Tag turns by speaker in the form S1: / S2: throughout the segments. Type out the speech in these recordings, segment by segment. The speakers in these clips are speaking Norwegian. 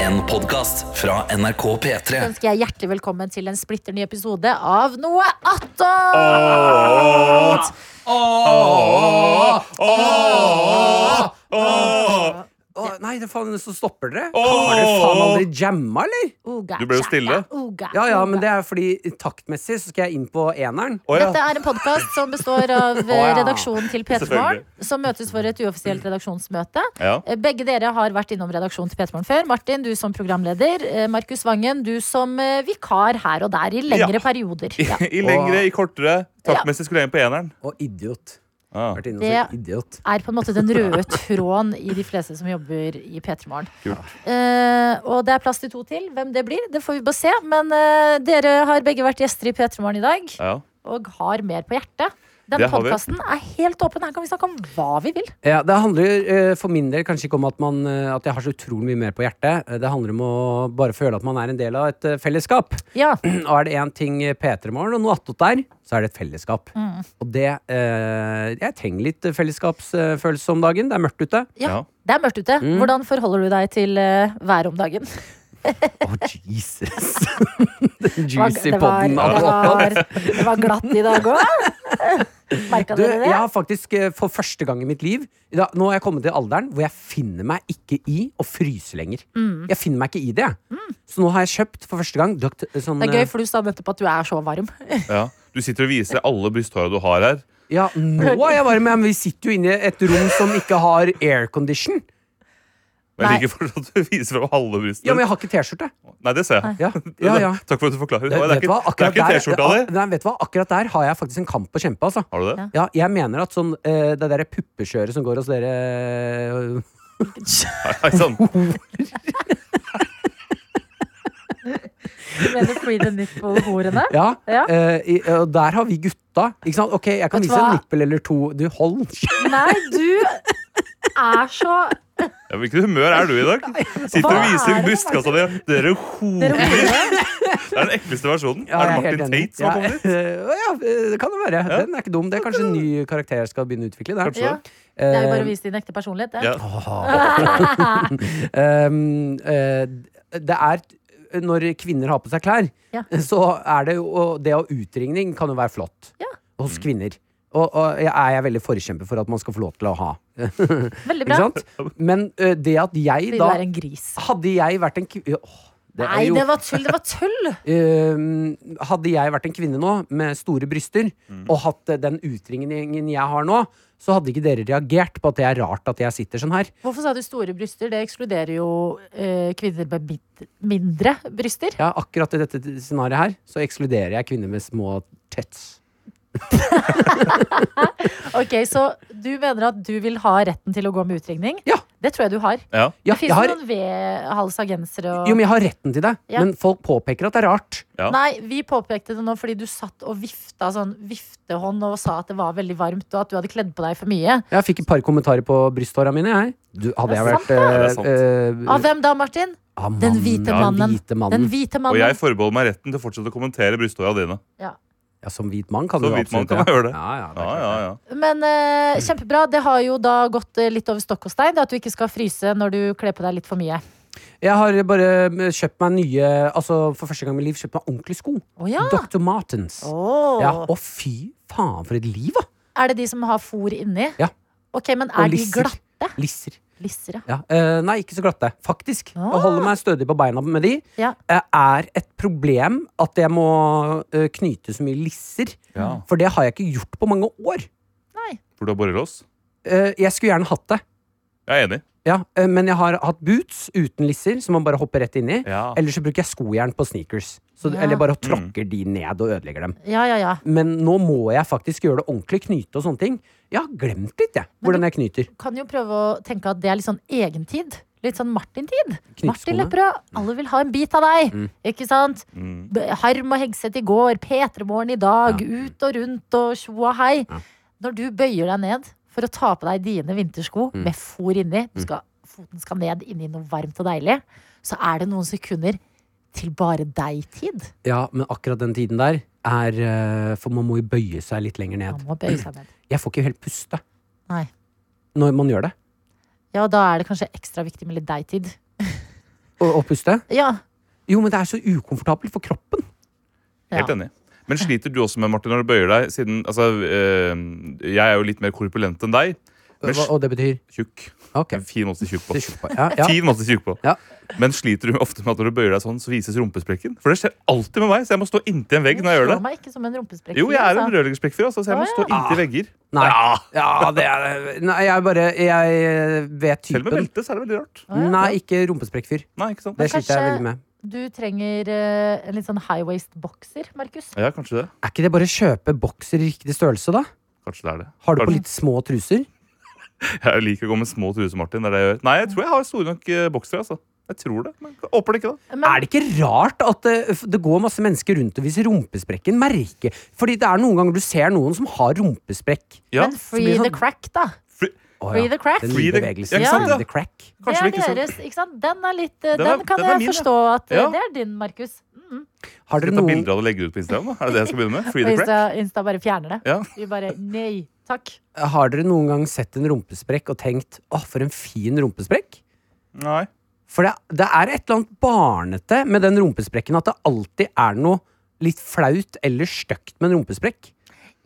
S1: En podcast fra NRK P3
S2: ønsker jeg hjertelig velkommen til en splitter ny episode av Noe attåt!
S3: Å, nei, det faen, så stopper dere. Har dere faen aldri jamma, eller?
S2: Uga,
S4: Du ble jo
S2: tjaka,
S4: stille.
S2: uga,
S3: Ja, ja,
S2: uga.
S3: men det er fordi taktmessig så skal jeg inn på eneren.
S4: Å ja.
S2: Dette er en podkast som består av eh,
S3: Å, ja.
S2: redaksjonen til P3 Morgen,
S4: Selvfølgelig.
S2: som møtes for et uoffisielt redaksjonsmøte.
S4: Ja.
S2: Eh, Begge dere har vært innom redaksjonen til P3 Morgen før. Martin, du som programleder. eh, Markus Vangen, du som eh, vikar her og der i lengre
S4: Ja.
S2: perioder.
S4: I,
S2: Ja.
S4: I lengre, i kortere. Taktmessig skulle jeg inn på eneren.
S3: Og idiot.
S4: Ah.
S3: Vært inne og sagt
S2: Det-
S3: idiot.
S2: Er på en måte den røde tråden i de fleste som jobber i P3 Morgen.
S4: Kult.
S2: Eh, og det er plass til to til. Hvem det blir, det får vi bare se. Men eh, dere har begge vært gjester i P3 Morgen i dag.
S4: Ja.
S2: og har mer på hjertet. Denne
S4: Det har vi.
S2: podkasten er helt åpen. Her kan vi snakke om hva vi vil.
S3: Ja, det handler eh, for min del kanskje ikke om at, man, eh, at jeg har så utrolig mye mer på hjertet. Eh, Det handler om å bare føle at man er en del av et eh, fellesskap.
S2: Ja,
S3: Og er det én ting eh, P3 Morgen og noe attåt der, så er det et fellesskap. Og det eh, Jeg trenger litt eh, fellesskapsfølelse om dagen. Det er mørkt ute.
S2: ja.
S4: Ja.
S2: Det er mørkt ute.
S3: Mm.
S2: Hvordan forholder du deg til uh, været om dagen?
S3: Å, Jesus! Den
S2: Det var-
S3: juicy
S2: det var-
S3: podden. altså.
S2: det
S3: av
S2: var- Det var glatt i dag òg. Merka
S3: Du,
S2: dere det?
S3: jeg har faktisk eh, for første gang i mitt liv i dag- Nå har jeg kommet til alderen hvor jeg finner meg ikke i å fryse lenger.
S2: Mm.
S3: Jeg finner meg ikke i det. Så nå har jeg kjøpt for første gang dukt, sånn,
S2: Det er gøy,
S3: eh,
S2: for du sa nettopp at du er så varm.
S4: Ja. Du sitter og viser alle brysthåra du har her.
S3: Ja, nå er jeg varm, men vi sitter jo inne i et rom som ikke har aircondition.
S4: Men
S2: Nei.
S4: jeg liker fortsatt at du viser fram halve brystet.
S3: Ja, men jeg har ikke T-skjorte.
S4: Nei, det ser jeg.
S3: Ja, ja, ja.
S4: Takk for at du forklarer.
S3: Det,
S4: Det, er
S3: vet du hva?
S4: ikke- det er
S3: Akkurat
S4: ikke
S3: der-
S4: T-skjorta di.
S3: Nei, vet du hva? Akkurat der har jeg faktisk en kamp å kjempe, altså.
S4: Har du det?
S3: Ja, jeg mener at sånn, eh, det derre puppekjøret som går hos dere
S4: Nei, nei, sånn.
S2: Du mener free the nipple-horene?
S3: Ja,
S2: Ja.
S3: eh, i, og der har vi gutta. Ikke sant? Ok, jeg kan
S2: Vet du
S3: vise
S2: hva?
S3: en nippel eller to. Du, hold kjeft!
S2: Nei, du er så
S4: Ja, Hvilket humør er du i dag?
S2: Hva
S4: Sitter og
S2: er
S4: viser
S2: det?
S4: brystkassa di. Dere
S2: Dere
S4: horer.
S2: horene.
S4: Det er den ekleste versjonen.
S3: Ja,
S4: er det
S3: jeg helt enig.
S4: Martin Tate som har
S3: ja,
S4: kommet hit?
S3: eh, ja, eh, det kan det være. Den er ikke dum. Det er kanskje en ny karakter jeg skal begynne å utvikle. Der.
S4: Kanskje.
S2: Ja. Det er jo bare å vise din ekte personlighet. Det.
S4: Ja.
S3: Um, eh, det er Når kvinner har på seg klær,
S2: Ja.
S3: så er det jo og Det å utringning kan jo være flott
S2: Ja.
S3: hos kvinner. Og, og jeg er jeg veldig forkjemper for at man skal få lov til å ha.
S2: Veldig
S3: Ikke
S2: bra.
S3: sant? Men eh, det at jeg
S2: Fordi du
S3: da
S2: er en gris.
S3: Hadde jeg vært en kvinne det er
S2: Nei,
S3: jo,
S2: det var tull! Det var tull!
S3: eh, hadde jeg vært en kvinne nå, med store bryster,
S4: Mm.
S3: og hatt eh, den utringningen jeg har nå, så hadde ikke dere reagert på at det er rart at jeg sitter sånn her.
S2: Hvorfor sa du store bryster? Det ekskluderer jo eh, kvinner med bit- mindre bryster.
S3: Ja, akkurat i dette scenariet her så ekskluderer jeg kvinner med små tets.
S2: Ok, Så du mener at du vil ha retten til å gå med utringning?
S3: Ja.
S2: Det tror jeg du har.
S4: Ja.
S2: det
S3: Ja, jeg
S2: fins
S3: har,
S2: jo noen vedhalsagensere og
S3: jo, men jeg har retten til det,
S2: Ja.
S3: men folk påpeker at det er rart.
S4: Ja.
S2: Nei, vi påpekte det nå fordi du satt og vifta sånn viftehånd og sa at det var veldig varmt, og at du hadde kledd på deg for mye.
S3: Jeg fikk et par kommentarer på brysthåra mine, jeg. Du, hadde
S2: Det er
S3: jeg vært
S4: sant,
S3: eh,
S2: Av hvem da, Martin?
S3: eh, av
S2: Den
S3: mannen,
S2: hvite
S3: ja,
S2: mannen.
S3: hvite mannen.
S2: Den hvite
S4: Og
S2: mannen.
S4: jeg forbeholder meg retten til å fortsette å kommentere brysthåra dine.
S3: Ja, som hvit mann kan
S4: Som
S3: du
S4: hvit mann
S3: absolutt
S4: kan man gjøre det.
S3: Ja, ja, det er
S4: Ja,
S3: klart
S4: ja,
S3: det.
S4: ja.
S2: Men eh, kjempebra. Det har jo da gått eh, litt over stokk og stein, det at du ikke skal fryse når du kler på deg litt for mye.
S3: Jeg har bare eh, kjøpt meg nye Altså For første gang i mitt liv kjøpt meg ordentlige sko.
S2: Å ja.
S3: Dr. Martens.
S2: Ah. Åh.
S3: Ja, og fy faen, for et liv, da!
S2: Er det de som har fôr inni?
S3: Ja.
S2: Ok, men er
S3: Og
S2: de
S3: lisser.
S2: glatte?
S3: Lisser.
S2: Lisser, ja.
S3: Ja. eh, nei, ikke så glatte, faktisk.
S2: Ah.
S3: Jeg holder meg stødig på beina med de.
S2: ja.
S3: eh, er et problem at jeg må eh, knyte så mye lisser.
S2: Ah.
S4: Ja.
S3: For det har jeg ikke gjort på mange år.
S2: Nei.
S4: For du har borrelås?
S3: Eh, Jeg skulle gjerne hatt det,
S4: Jeg er enig.
S3: ja, eh, men jeg har hatt boots uten lisser, som man bare hopper rett inn i.
S4: Ja.
S3: Eller så bruker jeg skojern på sneakers. Så,
S2: Ja. Mm.
S3: Eller bare tråkker de ned og ødelegger dem.
S2: Ja, ja, ja.
S3: Men nå må jeg faktisk gjøre det ordentlig, knyte og sånne ting. Jeg har glemt litt, jeg, hvordan jeg knyter.
S2: Kan jo prøve å tenke at det er litt sånn egentid. Litt sånn Martin-tid.
S3: Knyttskoene.
S2: Martin Lepperød, alle vil ha en bit av deg. Ikke sant?
S4: Mm.
S2: B- Harm og Hegseth i går, P3morgen i dag, ut og rundt og tjo og hei. Når du bøyer deg ned for å ta på deg dine vintersko
S4: Mm.
S2: med fôr inni, du skal, foten skal ned inni noe varmt og deilig, så er det noen sekunder til bare deg-tid.
S3: Ja, men akkurat den tiden der er eh, For man må jo bøye seg litt lenger
S2: Man
S3: ned.
S2: må bøye seg ned.
S3: Jeg får ikke helt puste
S2: Nei.
S3: når man gjør det.
S2: Ja, da er det kanskje ekstra viktig med litt deg-tid.
S3: Å å, å puste.
S2: Ja.
S3: Jo, men det er så ukomfortabelt for kroppen.
S4: Helt
S2: ja.
S4: enig. Men sliter du også med, Martin, når du bøyer deg? Siden, altså, eh, jeg er jo litt mer korpulent enn deg. Men
S3: Hva, og det betyr
S4: sl- tjukk.
S3: Ok.
S4: En fin måte å tjukk
S3: Det
S4: på.
S3: er tjukk på. Ja, ja.
S4: Fin måte å tjukk på.
S3: Ja.
S4: Men sliter du ofte med at når du bøyer deg sånn, så vises rumpesprekken? For det skjer alltid med meg, så jeg må stå inntil en vegg når jeg gjør
S2: Slår
S4: det.
S2: meg ikke som en rumpesprekk.
S4: Jo, jeg er en
S2: altså.
S4: rørleggersprekkfyr, altså, så jeg må
S2: Å,
S4: stå
S3: ja.
S4: inntil vegger.
S3: Nei. Ja, det er Nei, jeg bare Jeg vet
S4: Selv med
S3: typen.
S4: belte, så er det veldig rart.
S2: Å, ja.
S3: Nei, ikke rumpesprekkfyr.
S4: Nei, ikke sant?
S3: Det
S2: Men
S3: sliter jeg
S2: kanskje-
S3: veldig med.
S2: Du trenger eh, en litt sånn high waist bokser, Markus.
S4: Ja, kanskje det.
S3: Er ikke det bare å kjøpe bokser i riktig størrelse, da?
S4: Kanskje det er det.
S3: Har du på
S4: Kanskje-
S3: litt små truser?
S4: Jeg liker å gå med små truser, Martin. Det er det jeg gjør. Nei, jeg tror jeg har store nok eh, boksere, altså. Jeg tror det. Men jeg håper det ikke, da.
S2: Men
S3: Er det ikke rart at det, f- det går masse mennesker rundt og viser rumpesprekken? Merke. Fordi det er noen ganger du ser noen som har rumpesprekk.
S4: Ja.
S2: Men
S3: blir
S2: free
S3: det
S2: the
S3: sånn-
S2: crack, da.
S3: Å,
S2: Free the crack.
S3: Den
S4: Free
S3: nye
S4: the-
S3: bevegelsen.
S4: Ja,
S2: ikke sant,
S3: Free
S4: ja.
S3: the crack.
S2: Det
S4: Kanskje
S2: er
S4: det ikke så
S2: deres, ikke sant? Den er litt eh,
S4: Den
S2: Den,
S4: er-
S2: kan
S4: den er
S2: jeg
S4: min, ja.
S2: forstå at eh,
S4: Ja.
S2: Det er din, Markus. Mm.
S3: Har
S4: Skal
S3: dere
S4: vi ta
S3: noen
S4: bilder av det og legge det ut på Instagram? da? Er det det jeg skal begynne med? Free
S2: Og
S4: the
S2: Insta,
S4: crack?
S2: Insta bare fjerner det.
S4: Ja.
S2: Vi bare Nei takk.
S3: Har dere noen gang sett en rumpesprekk og tenkt 'Å, for en fin rumpesprekk'?
S4: Nei.
S3: For det, det er et eller annet barnete med den rumpesprekken at det alltid er noe litt flaut eller stygt med en rumpesprekk.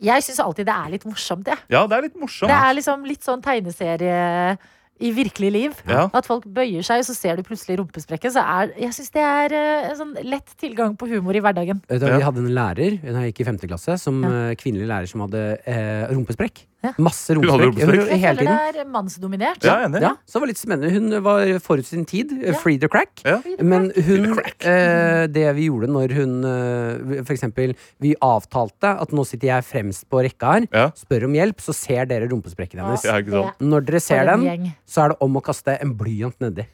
S2: Jeg syns alltid det er litt morsomt, jeg.
S4: Ja, det er litt morsomt.
S2: Det er liksom litt sånn tegneserie i virkelig liv.
S4: Ja.
S2: At folk bøyer seg, og så ser du plutselig rumpesprekken. Så er, jeg syns det er eh, en sånn lett tilgang på humor i hverdagen.
S3: Vet du hva,
S4: Ja.
S3: Vi hadde en lærer da jeg gikk i femte klasse, som eh, kvinnelig lærer som hadde eh, rumpesprekk.
S2: Ja.
S3: Masse
S4: hadde
S3: rumpesprekk. Hun-
S4: rumpesprekk?
S2: Jeg
S3: Hele tiden.
S2: føler det er mannsdominert.
S4: Ja, jeg er enig.
S3: Ja, så det var litt spennende. Hun var forut sin tid. eh,
S2: Ja.
S3: Free the crack.
S4: Ja.
S3: Men hun
S4: crack.
S3: eh, Det vi gjorde når hun eh, For eksempel, vi avtalte at nå sitter jeg fremst på rekka her,
S4: Ja.
S3: spør om hjelp, så ser dere rumpesprekken hennes.
S4: Ja, ikke sant.
S3: Når dere ser
S2: en
S3: den,
S2: gjeng.
S3: så er det om å kaste en blyant nedi.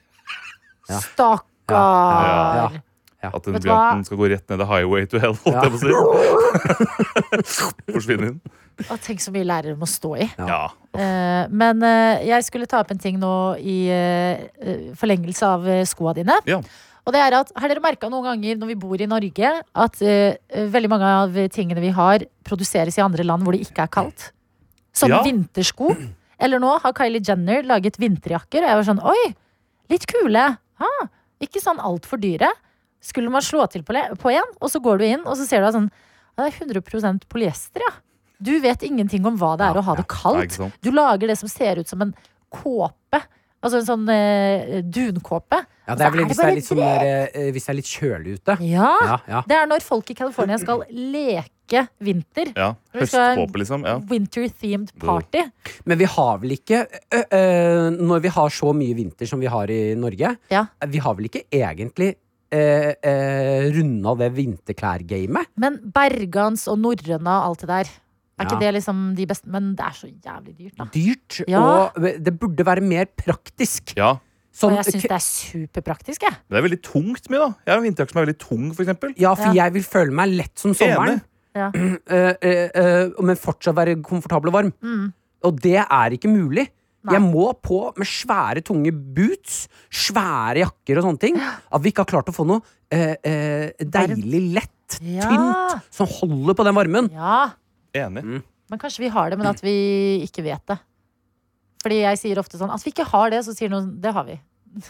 S3: Ja.
S2: Stakkar!
S4: Ja. At den
S2: Vet du hva?
S4: blyanten skal gå rett ned the highway to hell, holdt
S3: Ja.
S4: jeg på å si. Forsvinne inn.
S2: Og tenk så mye lærere må stå i.
S3: Ja.
S4: Ja.
S2: Eh, men eh, jeg skulle ta opp en ting nå i eh, eh, forlengelse av eh, skoa dine.
S4: Ja.
S2: Og det er at, Har dere merka noen ganger når vi bor i Norge, at eh, eh, veldig mange av tingene vi har, produseres i andre land hvor det ikke er kaldt? Som
S4: Ja.
S2: vintersko. Eller nå har Kylie Jenner laget vinterjakker, og jeg var sånn Oi, litt kule. Ha, ikke sånn altfor dyre. Skulle man slå til på le- på en, og så går du inn, og så ser du at sånn ja, Det er 100 polyester, ja. Du vet ingenting om hva det er
S3: Ja,
S2: å ha
S3: ja.
S2: det kaldt.
S4: Nei, ikke sant.
S2: Du lager det som ser ut som en kåpe. Altså en sånn eh, dunkåpe.
S3: Ja, det er vel
S2: Og
S3: hvis
S2: så er
S3: det er
S2: det
S3: litt sånn der, eh, hvis det er litt kjølig ute.
S2: Ja!
S3: Ja, ja.
S2: Det er når folk i California skal leke vinter.
S4: ja.
S2: Vi skal-
S4: Høstkåpe, liksom. Ja.
S2: Winter-themed party.
S3: Men vi har vel ikke ø, ø, Når vi har så mye vinter som vi har i Norge,
S2: Ja.
S3: vi har vel ikke egentlig uh, runda det vinterklærgamet?
S2: Men Bergans og norrøna og alt det der. Er ikke
S3: Ja.
S2: det liksom de beste? Men det er så jævlig dyrt, da.
S3: Dyrt,
S2: Ja.
S3: og det burde være mer praktisk.
S4: ja.
S2: Og
S3: Sånn,
S2: jeg syns det er superpraktisk, jeg.
S4: Men det er veldig tungt mye, da. Jeg har en vinterjakke som er veldig tung, for eksempel.
S3: ja, for
S2: Ja.
S3: jeg vil føle meg lett som sommeren,
S4: Enig.
S2: Ja.
S3: ø, ø, ø, men fortsatt være komfortabel og varm. Og det er ikke mulig.
S2: Mm. Nei.
S3: Jeg må på med svære, tunge boots, svære jakker og sånne ting. At vi ikke har klart å få noe ø, ø, deilig lett,
S2: Ja.
S3: tynt, som holder på den varmen.
S2: ja.
S4: Enig.
S2: Men kanskje vi har det, men at vi ikke vet det. Fordi jeg sier ofte sånn at vi ikke har det, så sier noen det har vi.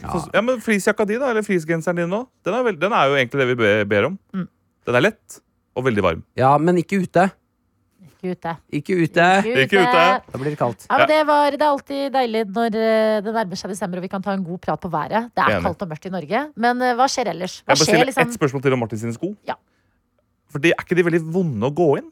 S4: Ja. ja, men Fleecejakka di, da, eller fleecegenseren din nå, den er, vel- den er jo egentlig det vi be- ber om.
S2: Mm.
S4: Den er lett og veldig varm.
S3: Ja, men ikke ute.
S2: Ikke ute.
S3: Ikke ute.
S4: Eh, Ikke ute.
S3: Da blir det kaldt.
S2: Ja, men
S4: Ja.
S2: det, var, det er alltid deilig når eh, det nærmer seg desember og vi kan ta en god prat på været. Det er
S4: Enig.
S2: kaldt og mørkt i Norge, men eh, hva skjer ellers? Hva
S4: Jeg bare
S2: skjer
S4: stiller
S2: liksom?
S4: ett spørsmål til om Martin sine sko.
S2: Ja.
S4: For de, er ikke de veldig vonde å gå inn?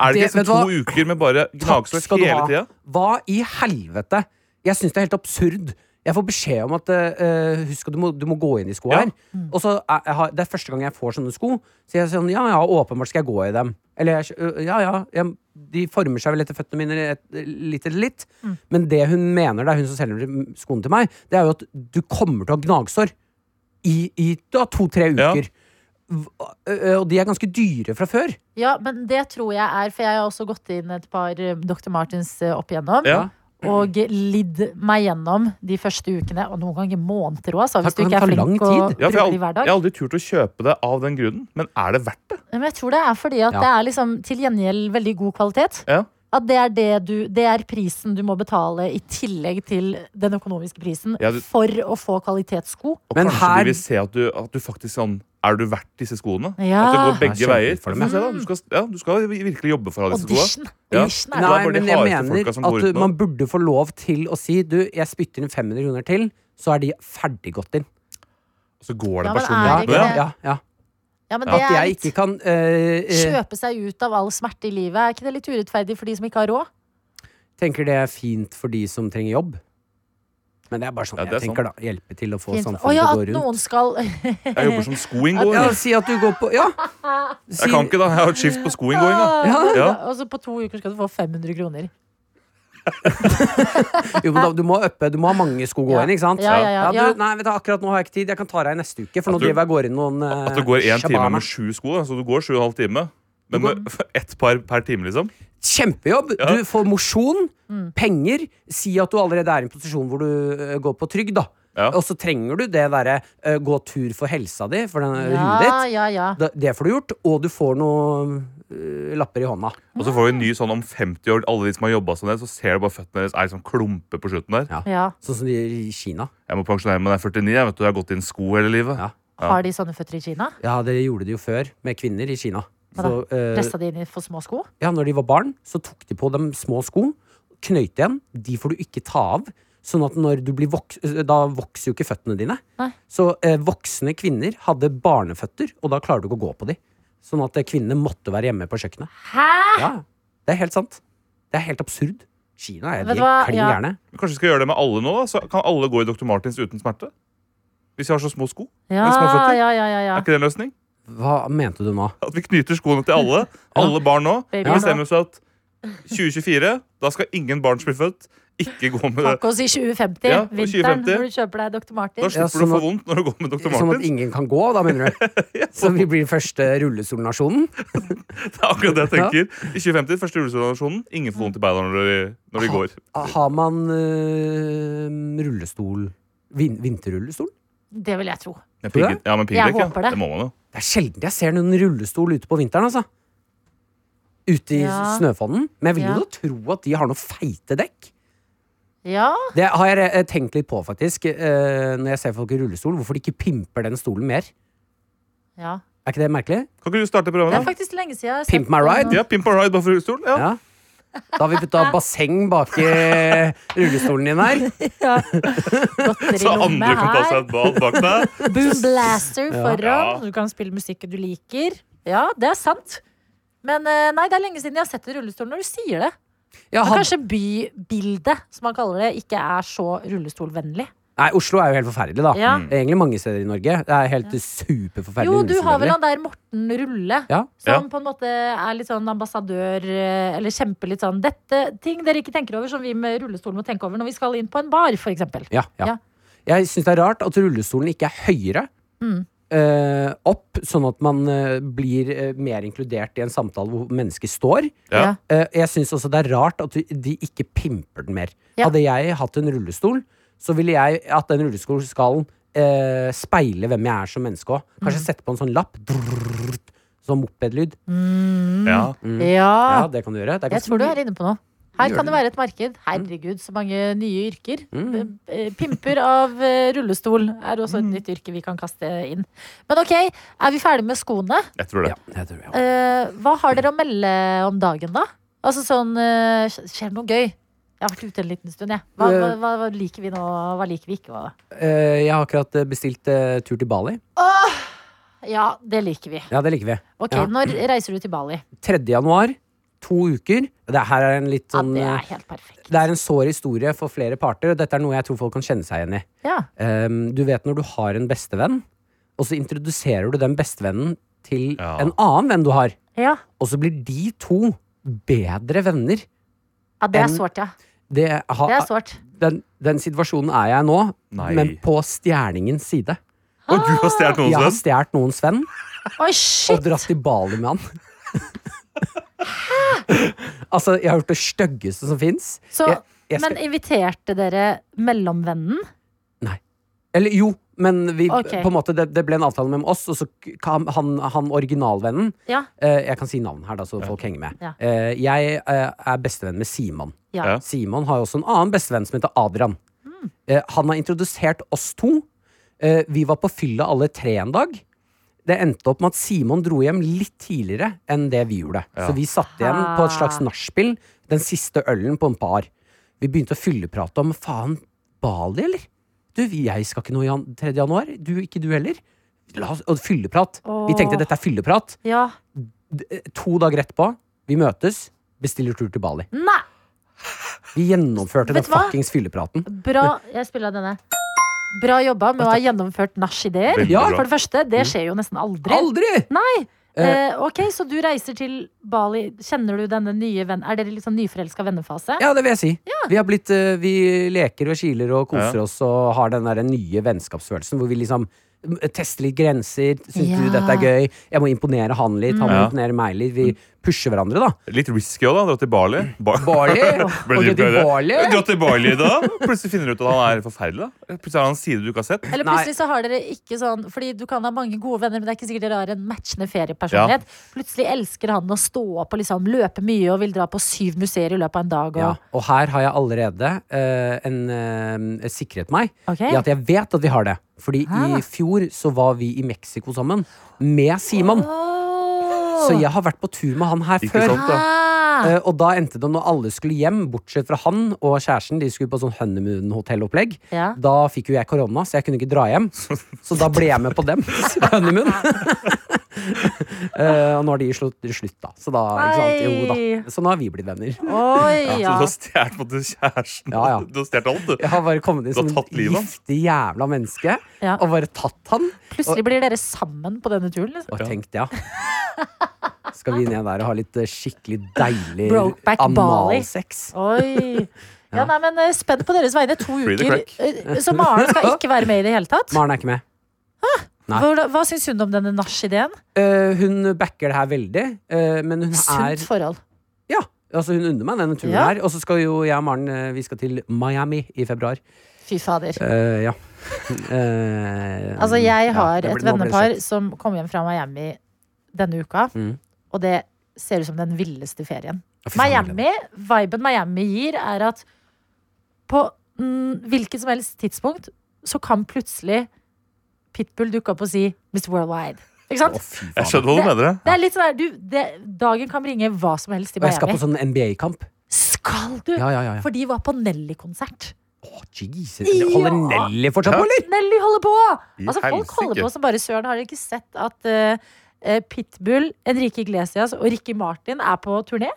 S4: Er det,
S3: Det-
S4: ikke
S3: vet
S4: sånn
S3: du
S4: to
S3: hva?
S4: uker med bare
S3: Takk
S4: gnagsår
S3: skal du
S4: hele
S3: ha.
S4: tida?
S3: Hva i helvete? Jeg syns det er helt absurd. Jeg får beskjed om at eh, husk at du må, du må gå inn i sko
S4: Ja. Mm.
S3: her. Og så er, jeg har, Det er første gang jeg får sånne sko. Så jeg sier sånn, ja ja, åpenbart skal jeg gå i dem. Eller jeg, øh, ja ja, jeg, de former seg vel etter føttene mine et, litt eller litt.
S4: Mm.
S3: Men det hun mener, det er hun som selger skoene til meg, det er jo at du kommer til å ha gnagsår i, i da, to-tre
S4: Ja.
S3: uker. Hva- øh, og de er ganske dyre fra før.
S2: Ja, men det tror jeg er, for jeg har også gått inn et par eh, Dr. Martens eh, opp igjennom.
S4: Ja.
S2: Og lidd meg gjennom de første ukene, og noen ganger måneder òg, altså, hvis
S3: Takk,
S2: du
S3: det
S2: ikke er
S3: kan ta lang
S2: flink å
S3: tid.
S4: Ja,
S2: bruke
S4: for jeg, har
S2: det
S4: aldri,
S2: i hver
S4: jeg
S2: dag.
S4: har aldri turt å kjøpe det av den grunnen, men er det verdt det?
S2: Men jeg tror det er fordi at
S3: Ja.
S2: det er liksom til gjengjeld veldig god kvalitet.
S4: Ja.
S2: At det er, det, du, det er prisen du må betale i tillegg til den økonomiske prisen
S4: Ja, du-
S2: for å få kvalitetssko.
S4: Og
S3: Men
S4: kanskje
S3: her-
S4: de vil se at du, at du faktisk sånn Er du verdt disse skoene?
S2: Ja.
S4: At det går begge
S3: Det er
S4: veier.
S3: kjempefint for dem,
S4: Men se da, du, skal, ja, du skal virkelig jobbe for å ha disse skoene.
S2: Audition.
S4: Ja.
S2: Audition er
S4: Da
S3: Nei,
S4: var de
S3: men jeg
S4: hardeste
S3: mener
S4: folka som går
S3: at
S4: utenom.
S3: man burde få lov til å si Du, jeg spytter inn 500 kroner til, så er de ferdig gått inn.
S4: Og så går det
S2: Ja,
S4: en
S2: men
S4: person
S2: er
S4: rundt
S2: det ikke
S4: med det.
S2: det?
S3: ja, ja.
S2: Ja, men
S4: Ja,
S2: det
S3: At
S2: er
S3: jeg
S2: litt
S3: ikke kan eh, eh,
S2: Kjøpe seg ut av all smerte i livet. Er ikke det litt urettferdig for de som ikke har råd?
S3: tenker det er fint for de som trenger jobb. Men det er bare sånn
S4: Ja, det
S3: jeg
S4: er sånn.
S3: tenker, da. Hjelpe til å få
S2: Fint. Å
S3: samfunnet
S2: ja,
S3: til å
S2: at
S3: gå rundt.
S2: noen skal
S4: Jeg jobber som skoinngåer.
S3: Ja, si at du går på Ja! Si,
S4: Jeg kan ikke, da. Jeg har et skift på skoinngåing. da. Ja.
S2: Og så altså, på to uker skal du få 500 kroner.
S3: jo, men da, du må uppe. Du må ha mange sko å gå
S2: Ja.
S3: inn, ikke sant?
S2: Ja, ja, ja, ja.
S3: du, nei, vet du, akkurat nå har jeg ikke tid. Jeg kan ta deg neste uke, for nå
S4: At du-
S3: driver jeg og går inn noen eh,
S4: At det går én time
S3: shabana.
S4: med sju sko. da. Så du går sju og en halv time. Men med ett par per time, liksom.
S3: Kjempejobb!
S4: Ja.
S3: Du får mosjon, penger. Si at du allerede er i en posisjon hvor du eh, går på trygd, da.
S4: Ja.
S3: Og så trenger du det derre eh, gå tur for helsa di, for den, huet
S2: Ja,
S3: ditt.
S2: ja, ja.
S3: Da- Det får du gjort, og du får noen eh, lapper i hånda.
S4: Og så får vi en ny sånn om 50 år. Alle de som har jobbet sånn, der, så ser du bare føttene deres er sånn klumpe på slutten der.
S3: Ja.
S2: ja.
S3: Sånn som de gjør i Kina.
S4: Jeg må pensjonere meg når jeg er 49. Jeg vet du, jeg har gått inn sko hele livet.
S3: Ja.
S2: Har de sånne føtter i Kina?
S3: Ja, det gjorde de jo før, med kvinner i Kina.
S2: Hva
S3: Så, eh,
S2: Pressa de inn i for små sko?
S3: ja, når de var barn, så tok de på dem små sko, knøyte igjen. De får du ikke ta av. Sånn at når du blir voks, eh, Da vokser jo ikke føttene dine.
S2: Nei.
S3: Så eh, voksne kvinner hadde barneføtter, og da klarer du ikke å gå på de. Sånn at eh, kvinnene måtte være hjemme på kjøkkenet.
S2: Hæ?!
S3: Ja, Det er helt sant. Det er helt absurd. Kina er
S2: Vet
S3: de
S2: du hva?
S3: klin
S2: Ja.
S3: gærne.
S4: Kanskje vi skal gjøre det med alle nå, da? Så kan alle gå i Dr. Martins uten smerte? Hvis vi har så små sko?
S2: Ja,
S4: Eller små føtter?
S2: ja, ja, ja, ja.
S4: Er ikke det en løsning?
S3: Hva mente du nå?
S4: At vi knyter skoene til alle. Alle barn nå.
S2: Babyer
S4: Vi bestemmer oss for at 2024, da skal ingen barn som blir født, ikke gå med det.
S2: Tacos i 2050.
S4: Ja, og
S2: Vinteren
S4: 2050.
S2: hvor du kjøper deg Dr.
S4: Da
S2: Martin.
S3: Ja,
S4: slipper du å
S3: sånn
S4: få
S3: at-
S4: vondt når du går med Dr.
S3: Sånn at
S4: Martin.
S3: ingen kan gå, da, mener du? Så vi blir den første rullestolnasjonen?
S4: Det er akkurat det jeg tenker. I 2050, første julestasjonen, ingen får vondt i beina når de, når de går.
S3: Har man eh, rullestol vin Vinterrullestol?
S2: Det vil jeg tro.
S3: Tror
S4: Med
S3: du
S4: pigge- Ja, men
S2: Jeg
S4: piggdekk, ja.
S2: håper det.
S4: Det må man jo.
S3: Det er sjelden jeg ser noen rullestol ute på vinteren, altså. Ute i
S2: Ja.
S3: snøfonnen. Men jeg vil
S2: Ja.
S3: jo da tro at de har noen feite dekk.
S2: Ja,
S3: Det har jeg eh, tenkt litt på, faktisk, eh, når jeg ser folk i rullestol. Hvorfor de ikke pimper den stolen mer.
S2: ja.
S3: Er ikke det merkelig?
S4: Kan ikke du starte
S2: Det er
S4: programmet? da?
S2: faktisk lenge siden. jeg har sett
S3: Pimp my
S2: noe-
S3: ride?
S4: Ja, Pimp and ride bare for rullestol. Ja.
S3: Ja. Da har vi putta basseng bak i rullestolen din her.
S2: Godteri
S4: Så andre kan ta seg et bad bak deg.
S2: Boom blaster foran.
S4: Ja.
S2: Du kan spille musikk du liker. Ja, det er sant. Men eh, nei, det er lenge siden jeg har sett en rullestol når du sier det.
S3: Ja,
S2: Men
S3: han-
S2: kanskje bybildet, som man kaller det, ikke er så rullestolvennlig.
S3: Nei, Oslo er jo helt forferdelig, da.
S2: Ja.
S3: Det er Egentlig mange steder i Norge. Det er helt superforferdelig.
S2: Jo, du har vel
S3: rullestolvennlig.
S2: han der Morten Rulle,
S3: Ja.
S2: som
S4: Ja.
S2: på en måte er litt sånn ambassadør, eh, eller kjemper litt sånn dette ting dere ikke tenker over, som vi med rullestol må tenke over når vi skal inn på en bar, for eksempel.
S3: Ja, ja.
S2: Ja.
S3: Jeg syns det er rart at rullestolen ikke er høyere eh, opp, sånn at man eh, blir eh, mer inkludert i en samtale hvor mennesker står.
S4: Ja.
S2: Ja.
S3: Eh, jeg syns også det er rart at du- de ikke pimper den mer.
S2: Ja.
S3: Hadde jeg hatt en rullestol, så ville jeg at den rullestolen skal eh, speile hvem jeg er som menneske òg. Kanskje sette på en sånn lapp. Drrrr, sånn mopedlyd.
S2: ja.
S4: Ja.
S3: Mm. Ja, det kan du gjøre. Det er
S2: Jeg
S3: ganske
S2: tror du
S3: mye-
S2: er inne på noe. Her
S3: Gjør
S2: kan det
S3: det. Mm.
S2: være et marked. Herregud, så mange nye yrker. Eh, eh, Pimper av eh, rullestol er også
S3: Mm.
S2: et nytt yrke vi kan kaste inn. Men ok, er vi ferdig med skoene?
S4: Jeg tror det.
S3: ja, jeg tror, ja.
S2: Eh, Hva har dere å melde om dagen, da? Altså sånn eh, sk- Skjer det noe gøy? Jeg har vært ute en liten stund, jeg. Hva, hva,
S3: Eh.
S2: hva, hva liker vi nå, hva liker vi ikke? Hva?
S3: Eh, jeg har akkurat eh, bestilt eh, tur til Bali.
S2: Ja, det liker vi.
S3: Ja, det liker vi.
S2: Ok,
S3: Ja.
S2: Når reiser du til Bali?
S3: 3. januar, to uker. Det her er en litt sånn
S2: ja, det
S3: eh,
S2: er helt perfekt.
S3: det er en sår historie for flere parter, og dette er noe jeg tror folk kan kjenne seg igjen i.
S2: Ja.
S3: Ehm, du vet når du har en bestevenn, og så introduserer du den bestevennen til
S4: Ja.
S3: en annen venn du har,
S2: Ja.
S3: og så blir de to bedre venner.
S2: ja, det
S3: En-
S2: er sårt, ja.
S3: Det har-
S2: Det er sårt.
S3: den, den situasjonen er jeg i nå,
S4: Nei.
S3: men på stjerningens side.
S4: Og du har stjålet noens
S3: Jeg har
S4: lønn?
S3: stjålet noens venn
S2: Oi,
S3: og
S2: shit!
S3: dratt til Bali med han. altså, jeg har gjort det styggeste som fins.
S2: Så,
S3: Jeg- jeg skal-
S2: men inviterte dere mellomvennen?
S3: Eller jo, men vi,
S2: Ok.
S3: på en måte, det, det ble en avtale mellom oss, og så k- kan han, han originalvennen
S2: Ja.
S3: eh, Jeg kan si navn her, da, så folk henger med.
S2: Ja.
S3: Eh, jeg eh, er bestevenn med Simon.
S2: Ja.
S4: Ja.
S3: Simon har jo også en annen bestevenn som heter Adrian. Eh, han har introdusert oss to. Eh, vi var på fylla alle tre en dag. Det endte opp med at Simon dro hjem litt tidligere enn det vi gjorde.
S4: Ja.
S3: Så vi satt igjen på et slags
S2: Ah.
S3: nachspiel, den siste ølen på en bar. Vi begynte å fylleprate om faen, Bali, eller? Du, jeg skal ikke noe i jan- 3. januar. Du, ikke du heller. La oss, og fylleprat. Vi tenkte
S2: Åh.
S3: dette er fylleprat.
S2: ja.
S3: D- To dager etterpå, vi møtes, bestiller tur til Bali.
S2: Nei!
S3: Vi gjennomførte
S2: Vet
S3: den
S2: du hva?
S3: fuckings fyllepraten.
S2: Bra. Jeg spiller av denne. Bra jobba med å ha gjennomført nach-ideer.
S4: Veldig
S3: Ja,
S4: bra.
S2: For det første, det skjer jo nesten aldri.
S3: Aldri!
S2: Nei! Eh, ok, så du reiser til Bali. Kjenner du denne nye vennen? Er dere liksom nyforelska vennefase?
S3: Ja, det vil jeg si. Vi, har blitt, eh, vi leker og kiler og koser
S4: Ja.
S3: oss og har den der nye vennskapsfølelsen hvor vi liksom mm, tester litt grenser. Syns
S2: Ja.
S3: du dette er gøy? Jeg må imponere han litt, han må
S4: Mm. Ja.
S3: imponere meg litt. Vi pusher hverandre, da.
S4: Litt risky òg, da. Dra til Bali. Ba-
S3: Bali!
S4: Ble
S3: Og
S4: du
S3: det til
S4: glad i det?
S3: Bali!
S4: Dra til Bali da. Plutselig finner du ut at han er forferdelig. da Plutselig har han en side du ikke har sett.
S2: Eller
S3: Nei.
S2: plutselig så har dere ikke sånn Fordi du kan ha mange gode venner, men det er ikke sikkert dere har en matchende feriepersonlighet. Plutselig elsker han å stå opp og liksom løpe mye og vil dra på syv museer i løpet av en dag. Og,
S3: Ja, og her har jeg allerede eh, en, eh, sikret meg
S2: Ok.
S3: i at jeg vet at vi har det. Fordi
S2: Ah.
S3: i fjor så var vi i Mexico sammen med Simon.
S2: Åh!
S3: Så jeg har vært på tur med han her
S4: Ikke sånn
S3: før.
S4: sant?
S2: Ah!
S3: Eh, og da endte det når alle skulle hjem, bortsett fra han og kjæresten. De skulle på sånn honeymoon-hotellopplegg.
S2: Ja.
S3: Da fikk jo jeg korona, så jeg kunne ikke dra hjem. Så da ble jeg med på dem. honeymoon. Eh, og nå har de slutt, slutt da. Så da, ikke sant? Jo, da. Så nå har vi blitt venner.
S2: Oi,
S4: Så
S2: ja.
S4: du har stjålet både kjæresten
S3: Ja, ja.
S4: Du har stjålet alt, du.
S3: Jeg har bare kommet inn
S4: Du har
S3: som
S4: tatt
S3: en
S4: livet av han.
S3: giftig jævla menneske
S2: Ja.
S3: og bare tatt han.
S2: Plutselig blir dere sammen på denne turen. Liksom.
S3: Og tenkt, ja. Skal vi ned der og ha litt eh, skikkelig deilig
S2: Brokeback Bali.
S3: analsex?
S2: Oi. Ja, nei, men eh, Spent på deres vegne. To
S4: Free the
S2: uker.
S4: crack.
S2: Eh, Så Maren skal ikke være med i det hele tatt?
S3: Maren er ikke med. Nei.
S2: Hva, hva syns hun om denne nach-ideen?
S3: Eh, hun backer det her veldig, eh, men hun
S2: Sunt
S3: er
S2: forhold.
S3: Ja, altså hun unner meg denne turen
S2: Ja.
S3: her. Og så skal jo jeg og Maren eh, Vi skal til Miami i februar.
S2: Fy fader.
S3: Eh, ja. Eh,
S2: Altså, jeg
S3: ja,
S2: har
S3: det
S2: et
S3: blir- nå blir det
S2: vennepar
S3: søtt.
S2: som kom hjem fra Miami denne uka,
S3: Mm.
S2: og det ser ut som den villeste ferien.
S3: Å, fy faen, jeg gleder meg.
S2: Miami, Viben Miami gir, er at på mm, hvilket som helst tidspunkt så kan plutselig Pitbull dukke opp og si 'Mr. Worldwide'. Ikke
S3: Å,
S2: sant?
S3: fy
S4: Jeg
S3: faen.
S4: skjønner hva du mener.
S2: Det er litt sånn der, du, det, Dagen kan bringe hva som helst i
S3: Og jeg skal
S2: Miami.
S3: på sånn NBA-kamp.
S2: Skal du?
S3: Ja, ja, ja. ja.
S2: For de var på Nelly-konsert.
S3: Å, Jesus. Holder
S2: Ja.
S3: Nelly fortsatt på, eller?
S2: Nelly holder på!
S4: I
S2: Altså, folk
S4: helsike.
S2: holder på som bare søren. Har dere ikke sett at eh, eh, Pitbull, Enrique Iglesias og Ricky Martin er på turné?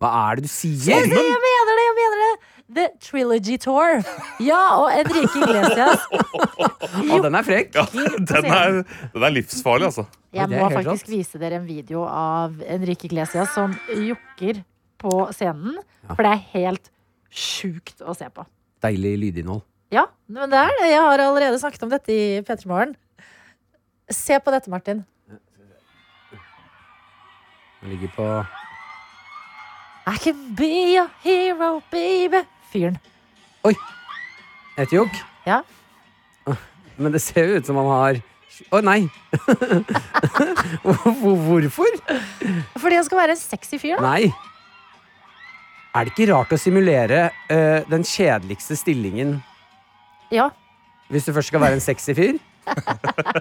S3: Hva er det du sier?
S2: Jeg mener det! jeg mener det The Trilogy Tour. Ja, og Enrique Iglesias
S3: Å, den er frekk.
S4: Ja,
S2: Gir på
S4: den er, den er livsfarlig, altså.
S2: Jeg
S3: det er
S2: må
S3: helt
S2: faktisk vise dere en video av Enrique Iglesias som jokker på scenen. For det er helt sjukt å se på.
S3: Deilig lydinnhold.
S2: Ja, men det er det. Jeg har allerede snakket om dette i P3 Morgen. Se på dette, Martin.
S3: Den ligger på
S2: I can be a hero, baby. Fyren.
S3: et jokk.
S2: Ja.
S3: Men det ser jo ut som han har Å, nei! Hvor- Hvorfor?
S2: Fordi han skal være en sexy fyr. da.
S3: Nei. Er det ikke rart å simulere eh, den kjedeligste stillingen
S2: Ja.
S3: hvis du først skal være en sexy fyr?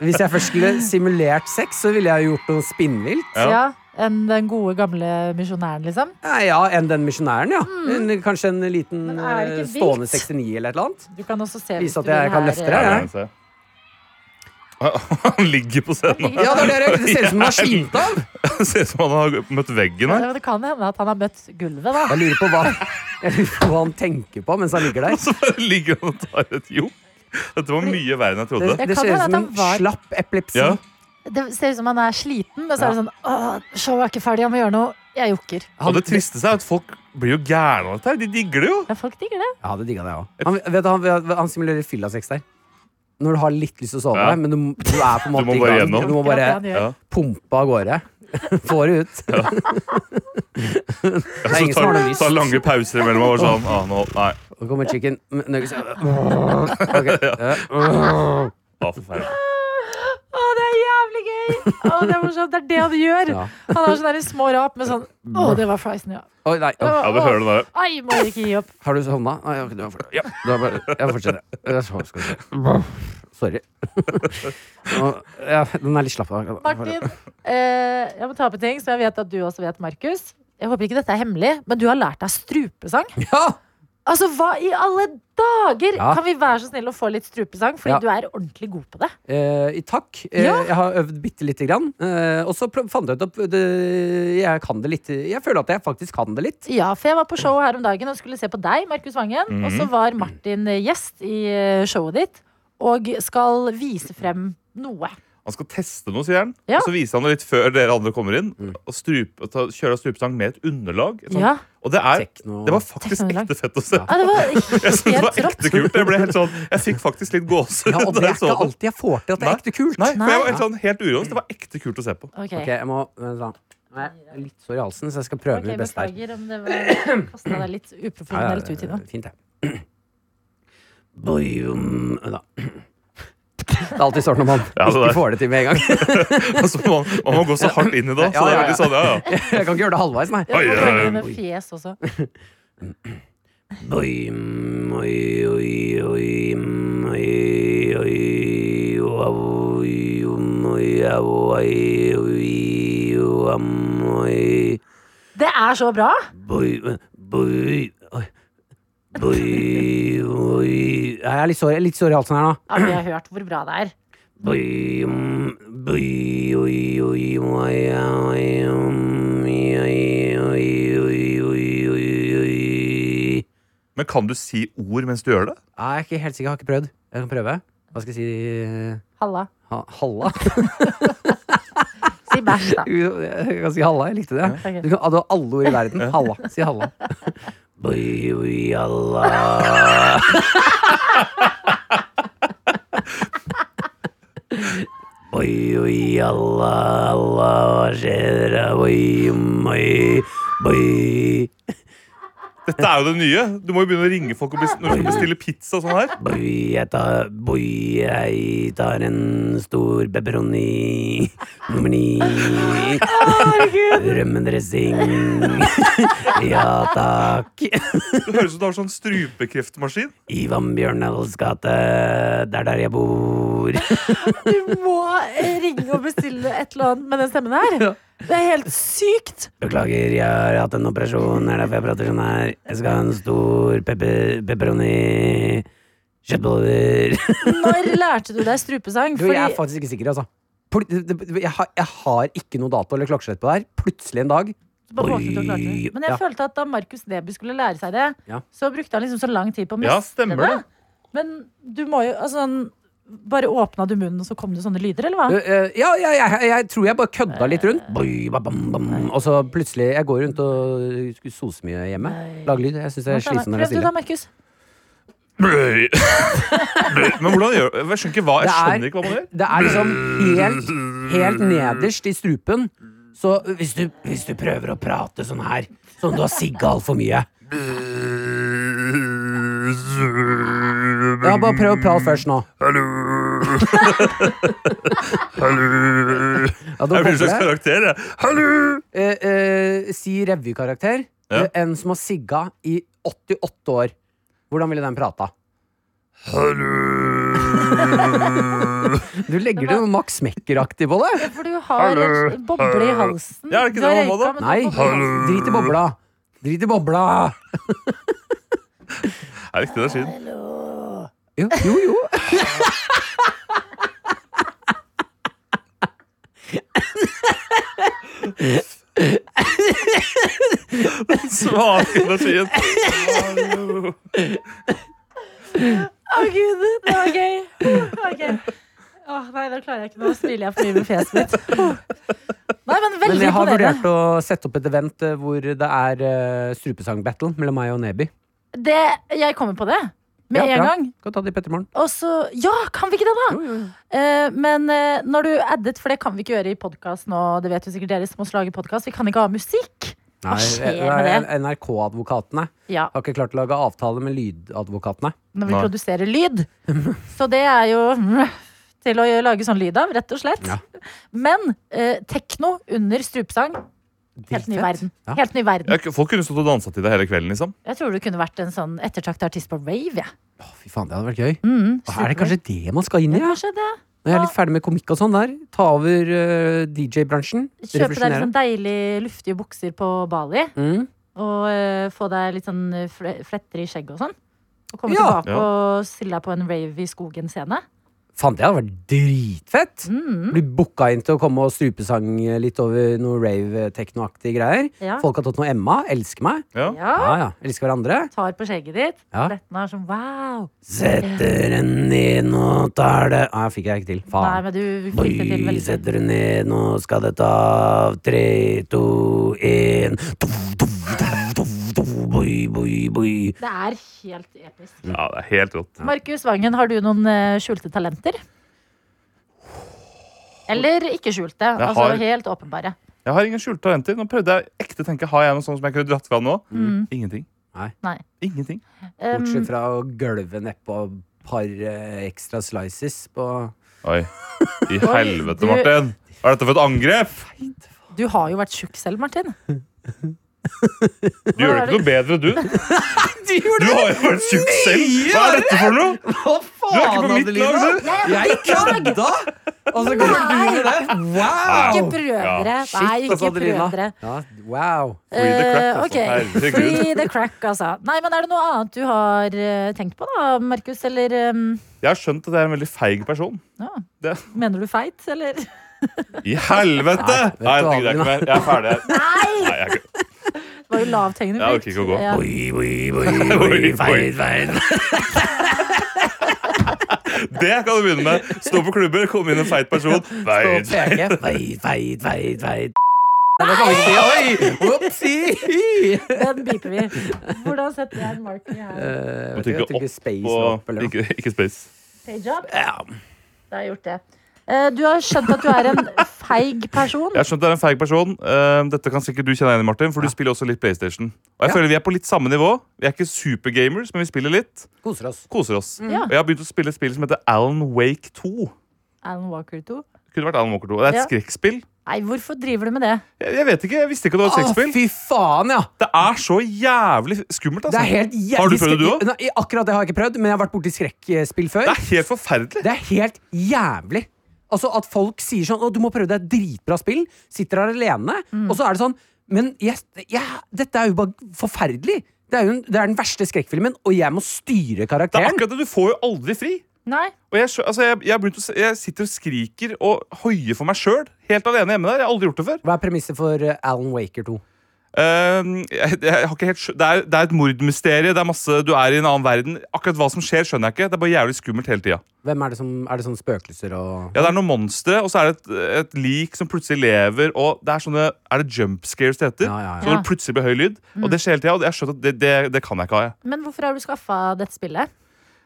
S3: Hvis jeg først skulle simulert sex, så ville jeg gjort noe spinnvilt.
S2: ja.
S4: Ja.
S2: Enn den gode, gamle misjonæren, liksom.
S3: Ja, ja, enn den misjonæren, ja. En- Kanskje en liten
S2: Men er det ikke
S3: eh, stående
S2: vilt?
S3: 69 eller et eller annet.
S2: Du kan også se
S3: Vise
S2: hvis du
S3: at jeg
S2: vil
S3: kan
S2: her,
S3: løfte
S2: eh,
S3: det, ja.
S4: Jeg vil gjerne se. Han ligger på scenen.
S2: Ja,
S3: Ja, det, er det, det ser ut som den har skint av!
S4: Det ser ut som han har møtt veggen her.
S2: Ja, Det kan hende at han har møtt gulvet, da.
S3: Jeg lurer på hva, jeg lurer på hva han tenker på mens han ligger der.
S4: Så bare ligger han og tar et jokk. Dette var mye verre enn jeg
S3: Det,
S4: trodde.
S3: det
S2: kan hende
S3: ser ut
S2: at
S3: som
S2: han var-
S3: slapp epilepsi.
S4: Ja.
S2: Det ser ut som han er sliten, men så er det sånn Åh, showet er ikke ferdig, jeg må gjøre noe. Jeg jokker.
S4: Og det triste er at folk blir jo gærne av dette. her De digger det jo.
S2: Ja, folk digger det.
S3: Jeg hadde digga det, jeg òg. Han, vet du, han, han simulerer fyllasex der. Når du har litt lyst til å sove,
S4: Ja.
S3: men du, du er på en
S4: Du må
S3: måte i
S4: bare
S3: gang.
S4: gjennom.
S3: Du må
S2: Akkurat det
S3: bare
S2: han gjør.
S4: Ja.
S3: pumpe av gårde. Få det ut.
S4: Ja,
S3: Det er
S4: så
S3: ingen som har
S4: tar,
S3: noe lyst.
S4: tar lange pauser imellom. Og bare sånn, ah, nå, nei.
S3: Så kommer chicken nuggets Ok, ja.
S4: Ja, forferdelig.
S2: Å, det er jævlig gøy! Å, det er morsomt. Det er det han gjør.
S3: Ja.
S2: Han har sånne der små rap med sånn Å, det var friesen, ja.
S3: Oi, nei. Å,
S4: Ja, du hører det der.
S2: Ai, må jeg ikke gi opp.
S3: Har du sovna? Nei, ok, du har fått- Ja, du har bare Jeg fortsetter. Jeg så- skal vi se. Sorry. Nå- ja, den er litt slapp. da.
S2: Martin, eh, jeg må ta opp en ting som jeg vet at du også vet, Markus. Jeg håper ikke dette er hemmelig, men du har lært deg strupesang.
S3: Ja!
S2: Altså, hva i alle dager?
S3: Ja.
S2: Kan vi være så snill å få litt strupesang? Fordi
S3: Ja.
S2: du er ordentlig god på det.
S3: Eh, I takk. Eh,
S2: Ja.
S3: Jeg har øvd bitte lite grann. Eh, og så pl- fant jeg ut at det, jeg kan det litt. Jeg føler at jeg faktisk kan det litt.
S2: Ja, for jeg var på show her om dagen og skulle se på deg, Markus Vangen. Og så var Martin eh, gjest i eh, showet ditt og skal vise frem noe.
S4: Han skal teste noe, sier han.
S2: Ja.
S4: Og så viser han det litt før dere andre kommer inn.
S3: Mm.
S4: Og strupe, og ta, kjører strupesang med et underlag. Et sånt.
S2: Ja,
S4: Og det er
S3: Tekno-
S4: Det var faktisk
S2: Teknounderlag.
S4: ekte fett å se.
S2: ja det var
S4: Jeg synes det var
S2: helt rått.
S4: ekte kult. Jeg, ble helt sånn, jeg fikk faktisk litt gåsehud.
S3: Ja, og det er
S4: da jeg så
S3: ikke alltid jeg får til at det er
S4: sånn. Nei.
S3: ekte kult.
S4: Nei, for jeg var
S2: Nei.
S4: helt, sånn, helt urolig. Det var ekte kult å se på.
S2: Ok,
S3: Ok, jeg må vent da. Nei, jeg er litt sår i halsen, så jeg skal prøve
S2: Ok,
S3: mitt beste her.
S2: beklager om det var- kastet deg litt uprofesjonelt ut i nå.
S3: Fint, det. Boom. Da. Det er alltid sånn når man
S4: Ja, det
S3: ikke
S4: der.
S3: får det til med en gang.
S4: Altså, man, man må gå så hardt inn i det. Så
S3: Ja, ja,
S4: det er
S3: ja.
S4: veldig sånn, ja, ja.
S3: Jeg kan ikke gjøre det halvveis, nei.
S2: Ja,
S4: Oi,
S2: og
S4: oi, oi.
S2: det med fjes også.
S3: Boim, oi, oi, oi, oi, oi, au, oi, om, oi, au, oi, oi, au, am, oi,
S2: Det er så bra!
S3: boi, boi, oi, boi, oi. Ja, Jeg er litt sår- jeg er litt sår i halsen her nå.
S2: Ja, vi har hørt hvor bra det er.
S3: Boi, om, boi, oi, oi, oi, oi, om, oi, oi, oi, oi, oi, oi.
S4: Men kan du si ord mens du gjør det?
S3: Nei, jeg er ikke helt sikker. Jeg har ikke prøvd. Jeg kan prøve. Hva skal jeg si?
S2: Halla.
S3: Ha, halla?
S2: Si bæsj, da.
S3: Jeg kan si halla. Jeg likte det.
S2: Ok.
S3: Du, kan, du har alle ord i verden. Halla. Si halla. Boi, oi, halla. Oi, oi, halla, halla, hva skjer? Oi, oi, oi.
S4: Dette er jo det nye. Du må jo begynne å ringe folk og bes- når du skal bestille pizza og sånn her.
S3: Boi, jeg tar, boi, jeg tar en stor pepperoni nummer ni. Rømmedressing. Ja takk.
S4: Det høres ut som du har sånn strupekreftmaskin.
S3: Ivan Bjørnals gate, det er der jeg bor.
S2: Du må eh, ringe og bestille et eller annet med den stemmen her. Det er helt sykt!
S3: Beklager, jeg har hatt en operasjon, det er derfor jeg prater sånn her. Jeg skal ha en stor pepper, pepperoni. Kjøttboller.
S2: Når lærte du deg strupesang?
S3: Du, jeg er
S2: Fordi
S3: faktisk ikke sikker, altså. Pl- det- det- Jeg har, jeg har ikke noe dato eller klokkeslett på det her. Plutselig en dag
S2: Du bare våknet og klarte
S3: Oi.
S2: det. Men jeg
S3: Ja.
S2: følte at da Markus Neby skulle lære seg det,
S3: Ja.
S2: så brukte han liksom så lang tid på å
S4: Ja,
S2: miste
S4: stemmer det.
S2: Men du må jo altså, han- Bare åpna du munnen, og så kom det sånne lyder, eller hva?
S3: Du, eh, ja, ja, jeg, jeg tror jeg bare kødda litt
S2: Eh.
S3: rundt. Boi, ba, bam, bam. Og så plutselig Jeg går rundt og skulle sose mye hjemme. Lage lyd. Jeg syns det er slitsomt når det er
S2: Prøv du da,
S3: stille.
S2: Markus.
S4: Bløy. Bløy. Men hvordan gjør Jeg skjønner ikke hva Jeg skjønner
S3: Det
S4: ikke hva man
S3: er,
S4: gjør.
S3: det er liksom helt, helt nederst i strupen. Så hvis du, hvis du prøver å prate sånn her, sånn du har sigga altfor mye Ja, bare prøv å prate først nå.
S4: Hallo. Hallo.
S3: Ja, da
S4: Jeg blir en
S3: kommer det.
S4: slags karakter, jeg. Hallo.
S3: Eh, eh, si revykarakter.
S4: Ja.
S3: Eh, En som har sigga i 88 år. Hvordan ville den prata? Du legger det jo Max Mekker-aktig på det.
S2: For du har en boble i halsen.
S4: Ja, er det
S2: Du
S4: ikke
S2: har
S4: det man må,
S2: røyka,
S4: da?
S2: men du har
S3: Nei,
S2: boble i halsen.
S3: drit i bobla. Drit i bobla.
S4: Det er riktig, det er skinn.
S3: Jo, jo. jo.
S4: Smaken av skinn. Hallo.
S2: Å, gud, det var gøy. Ok. Åh, nei, nå klarer jeg ikke. Nå smiler jeg for mye med fjeset mitt. Nei, men
S3: Men
S2: veldig
S3: jeg har
S2: imponerende.
S3: vurdert å sette opp et event eh, hvor det er eh, strupesang-battle mellom meg og Neby.
S2: Det, jeg kommer på det. Med
S3: Ja,
S2: en
S3: bra.
S2: gang.
S3: Kan ta det i Pettermorgen.
S2: Og så Ja, kan vi ikke det, da?
S3: Jo, jo, jo.
S2: Eh, men eh, når du addet, for det kan vi ikke gjøre i podkast nå, det vet jo sikkert dere som også lager podkast, vi kan ikke ha musikk. Hva
S3: Nei, eh,
S2: skjer
S3: det er
S2: med
S3: NRK-advokatene
S2: Ja,
S3: har ikke klart å lage avtale med lydadvokatene.
S2: når vi
S4: Nei.
S2: produserer lyd. Så det er jo mm, til å gjøre- lage sånn lyd av, rett og slett.
S3: Ja.
S2: Men eh, tekno under strupesang, helt ny
S3: Dritfett.
S2: verden.
S3: Ja.
S2: Helt ny verden.
S4: Ja, folk kunne stått og dansa til det hele kvelden, liksom.
S2: Jeg tror du kunne vært en sånn ettertraktet artist på rave, jeg.
S3: Å, fy faen, det hadde vært gøy.
S2: Mm,
S3: Å, er det kanskje det man skal inn i?
S2: Ja,
S3: Ja?
S2: kanskje det.
S3: Når jeg er litt ferdig med komikk og sånn der. Ta over eh, DJ-bransjen.
S2: Kjøpe deg litt
S3: Revolusjonere.
S2: sånn deilig luftige bukser på Bali.
S3: Mm.
S2: Og eh, få deg litt sånn eh, fle- fletter i skjegget og sånn. Og komme
S3: Ja.
S2: tilbake og stille deg på en rave i skogen-scene.
S3: Faen, det hadde vært dritfett!
S2: Mm,
S3: Bli booka inn til å komme og strupesang litt over noe rave-teknoaktige greier.
S2: ja. Ah.
S3: Folk har tatt noe Emma. Elsker meg.
S4: Ja.
S2: ja.
S3: Ja, ja. Elsker hverandre.
S2: Tar på skjegget ditt.
S3: Ja.
S2: Lettene er sånn wow.
S3: Setter den ned, nå tar det Nei, fikk jeg ikke til.
S2: Nei,
S3: Faen.
S2: men du
S3: Oi,
S2: fikk det til veldig
S3: setter den ned, nå skal det ta av. Tre, to, én. Do, do, do, do, do, boi, boi, boi.
S2: Det er helt episk.
S4: ja, det er helt rått.
S2: Markus Vangen, har du noen eh, skjulte talenter? Eller ikke skjulte. Altså
S4: har-
S2: helt åpenbare.
S4: Jeg har ingen skjulte talenter. Nå prøvde jeg ekte å tenke, har jeg noe sånt som jeg kunne dratt fra nå?
S2: Mm.
S4: Ingenting.
S3: Nei.
S2: Nei.
S4: Ingenting.
S2: Um,
S3: Bortsett fra å gølve nedpå et par eh, ekstra slices på
S4: Oi. I helvete,
S2: du-
S4: Martin. Hva er dette for et angrep?
S2: du har jo vært tjukk selv, Martin.
S4: Du gjør det ikke noe bedre, du.
S3: Du gjorde
S4: Du har jo vært tjukk selv. Hva er dette for noe?
S3: Hva faen,
S4: Du er ikke på mitt lag, du.
S3: Jeg kødda! Og så går du med det?
S2: Ikke
S3: Wow!
S2: prøv
S4: Ja,
S2: dere.
S3: shit,
S2: Nei, ikke
S3: altså,
S2: prøv
S3: Adelina.
S2: dere.
S3: Ja, wow.
S4: Free the crack,
S2: Eh,
S4: altså.
S2: ok.
S4: Herregud.
S2: Free the crack, altså. Nei, men er det noe annet du har eh, tenkt på, da, Markus? Eller um,
S4: Jeg har skjønt at jeg er en veldig feig person.
S2: ja.
S4: Det-
S2: Mener du feit, eller?
S4: I helvete!
S3: Nei, vet du
S4: Nei, jeg tenker det er
S3: aldri,
S4: ikke mer. Jeg er ferdig. Nei, jeg er ikke-
S2: Det var jo lavthengende
S4: Jeg orker ikke å gå.
S2: Ja.
S3: Oi, oi, oi,
S4: Oi, oi.
S3: feil.
S4: Det kan du begynne med. Stå på klubber, komme inn en feit person. Nei,
S3: Veit, veit, veit, veit, veit. Nei, det kan vi ikke si. Oi! Opsi!
S2: Den biper vi. Hvordan setter jeg en marker her?
S3: Uh,
S4: Må trykke opp
S3: space
S4: på
S3: opp, eller noe.
S4: ikke, ikke space.
S2: Page up?
S3: Ja.
S2: Da har jeg gjort det. Eh, Du har skjønt at du er en feig person.
S4: Jeg har skjønt du er en feig person. Ehm, Dette kan sikkert du kjenne deg igjen i, Martin, for du spiller også litt PlayStation. Og jeg
S3: Ja.
S4: føler vi er på litt samme nivå. Vi er ikke supergamers, men vi spiller litt.
S3: Koser oss.
S4: Koser oss.
S2: Ja.
S4: Og jeg har begynt å spille et spill som heter Alan Wake 2.
S2: Alan Walker 2.
S4: Kunne vært Alan Walker 2. Det er et
S2: Ja.
S4: skrekkspill.
S2: Nei, hvorfor driver du med det?
S4: Jeg, jeg vet ikke, jeg visste ikke at det var et skrekkspill.
S3: fy faen, ja!
S4: Det er så jævlig skummelt, altså.
S3: Det er helt jævlig
S4: Har du prøvd det, du
S3: skrekk-
S4: òg?
S3: Nei, akkurat det har jeg ikke prøvd, men jeg har vært borti skrekkspill før.
S4: Det er helt forferdelig.
S3: Det er helt jævlig. Altså At folk sier sånn Å, du må prøve deg et dritbra spill. Sitter her alene. Og så er det sånn Men jeg, jeg, dette er jo bare forferdelig. Det er jo en, det er den verste skrekkfilmen, og jeg må styre
S4: Det er
S3: karakteren.
S4: akkurat det, Du får jo aldri fri.
S2: Nei,
S4: Og jeg, skjø- altså, jeg, jeg, har begynt å, se- jeg sitter og skriker og hoier for meg sjøl, helt alene hjemme der. Jeg har aldri gjort det før.
S3: Hva er premisset for eh, Alan Waker 2?
S4: Ehm, jeg, jeg har ikke helt, skjø- det, er, det er et mordmysterium. Det er masse, Du er i en annen verden. Akkurat hva som skjer, skjønner jeg ikke. Det er bare jævlig skummelt hele tida.
S3: Hvem Er det som, er det sånn spøkelser og
S4: Ja, det er noen monstre, og så er det et, et lik som plutselig lever. Og det Er sånne, er det jump scares det heter?
S3: Ja, ja, ja.
S4: Så når det plutselig blir høy lyd. Og det skjer hele tida, og jeg har skjønt at det, det, det kan jeg ikke ha. Jeg.
S2: men hvorfor har du skaffa dette spillet?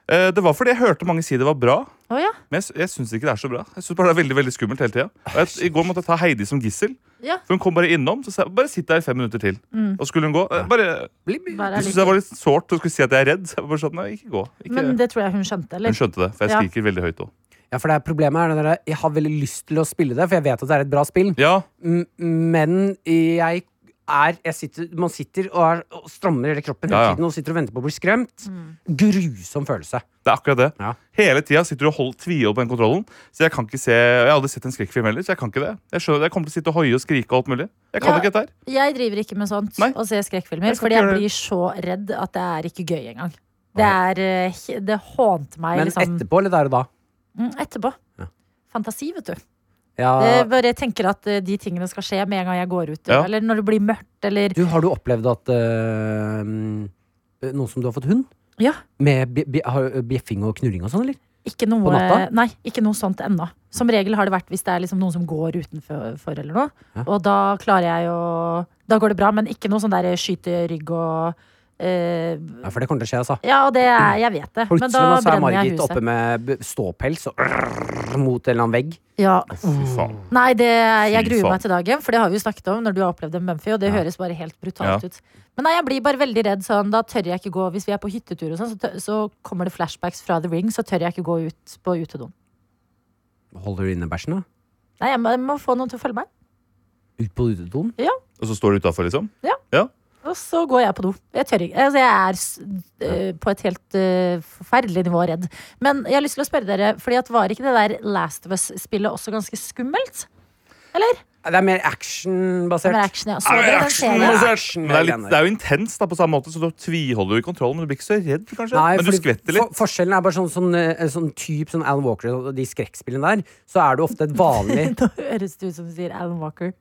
S4: Eh, det var fordi jeg hørte mange si det var bra.
S2: Å ja.
S4: Men jeg, sy- jeg syns ikke det er så bra. Jeg synes bare det er veldig, veldig skummelt hele tiden. Og jeg, I går måtte jeg ta Heidi som gissel.
S2: Ja.
S4: For Hun kom bare innom. Så sa jeg, bare sitt der i fem minutter til. Og skulle hun gå eh,
S2: Bare
S4: bare,
S2: Mm.
S4: Hun
S2: litt-
S4: syntes jeg var litt sårt og skulle si at jeg er redd. Så jeg bare sånn, nei, ikke gå. Ikke.
S2: Men det tror jeg hun skjønte, eller?
S4: Hun skjønte det, for jeg
S2: Ja.
S4: skriker veldig høyt òg.
S3: Ja, for det er problemet er det der, Jeg har veldig lyst til å spille det, for jeg vet at det er et bra spill.
S4: Ja,
S3: M- Men jeg er jeg sitter, Man sitter og, er, og strammer hele kroppen hele
S4: Ja, ja.
S3: tiden og sitter og venter på å bli skremt. Grusom følelse.
S4: det er akkurat det.
S3: Ja.
S4: Hele tida sitter du og hold- tviholder på den kontrollen. Så jeg kan ikke se Jeg har aldri sett en skrekkfilm heller, så jeg kan ikke det. Jeg skjønner, jeg kommer til å sitte og hoie og skrike og alt mulig. Jeg kan
S2: Ja.
S4: ikke dette her.
S2: Jeg driver ikke med sånt
S4: Nei.
S2: og ser skrekkfilmer,
S4: Jeg skal
S2: fordi
S4: ikke
S2: jeg
S4: gjøre det.
S2: blir så redd at det er ikke gøy engang. Det er eh, he- Det hånte meg
S3: Men
S2: liksom
S3: etterpå, eller der og da?
S2: Mm, etterpå.
S3: Ja.
S2: Fantasi, vet du.
S3: Ja,
S2: Jeg bare tenker at eh, de tingene skal skje med en gang jeg går ut,
S4: Ja.
S2: eller når det blir mørkt, eller
S3: du, har du opplevd at øh, Noen som du har fått hund?
S2: Ja.
S3: Med bi- bi- har- eh, bjeffing og knurring og sånn, eller?
S2: Ikke noe,
S3: På natta?
S2: Nei, ikke noe sånt ennå. Som regel har det vært hvis det er liksom noen som går utenfor for eller noe.
S3: Ja.
S2: Og da klarer jeg å Da går det bra, men ikke noe sånn der skyte rygg og eh,
S3: Ja, for det kommer til å skje, altså.
S2: Ja, og det er Jeg vet det. Men da
S3: Plutselig nå så er
S2: brenner jeg
S3: Margit
S2: huset.
S3: oppe med b- ståpels og rrrr, mot en eller annen vegg.
S2: Ja.
S4: Fy faen.
S2: Nei, det, jeg
S4: Fy
S2: gruer
S4: faen.
S2: meg til dagen, for det har vi jo snakket om når du har opplevd det med Mumphy, og det høres bare helt brutalt
S4: Ja.
S2: ut. Men nei, jeg blir bare veldig redd sånn. Da tør jeg ikke gå Hvis vi er på hyttetur og sånn, så, tør- så kommer det flashbacks fra The Ring, så tør jeg ikke gå ut på utedoen.
S3: Holder du inne bæsjen, da?
S2: Nei, jeg må, jeg må få noen til å følge meg.
S3: Ut på utedoen?
S5: Og så står du utafor, liksom?
S2: Og så går jeg på do. Jeg tør ikke. Altså, jeg er s- øh, på et helt øh, forferdelig nivå redd. Men jeg har lyst til å spørre dere, fordi at var ikke det der Last of Us-spillet også ganske skummelt?
S3: Det er mer
S2: Det
S3: actionbasert.
S2: var action, ja. Så
S4: Ja, det er
S2: dere den
S4: action,
S2: serien?
S4: altså.
S3: action,
S4: Men det er, litt,
S3: Helene.
S4: det er jo intenst da, på samme måte, så da tviholder du i kontrollen. Men du blir ikke så redd, kanskje.
S3: Nei,
S4: men du
S3: fordi
S4: skvetter litt.
S3: For, forskjellen er bare sånn, sånn, eh, sånn typ sånn Alan Walker og de skrekkspillene der, så er det ofte et vanlig
S2: Nå høres det ut som du sier Alan Walker.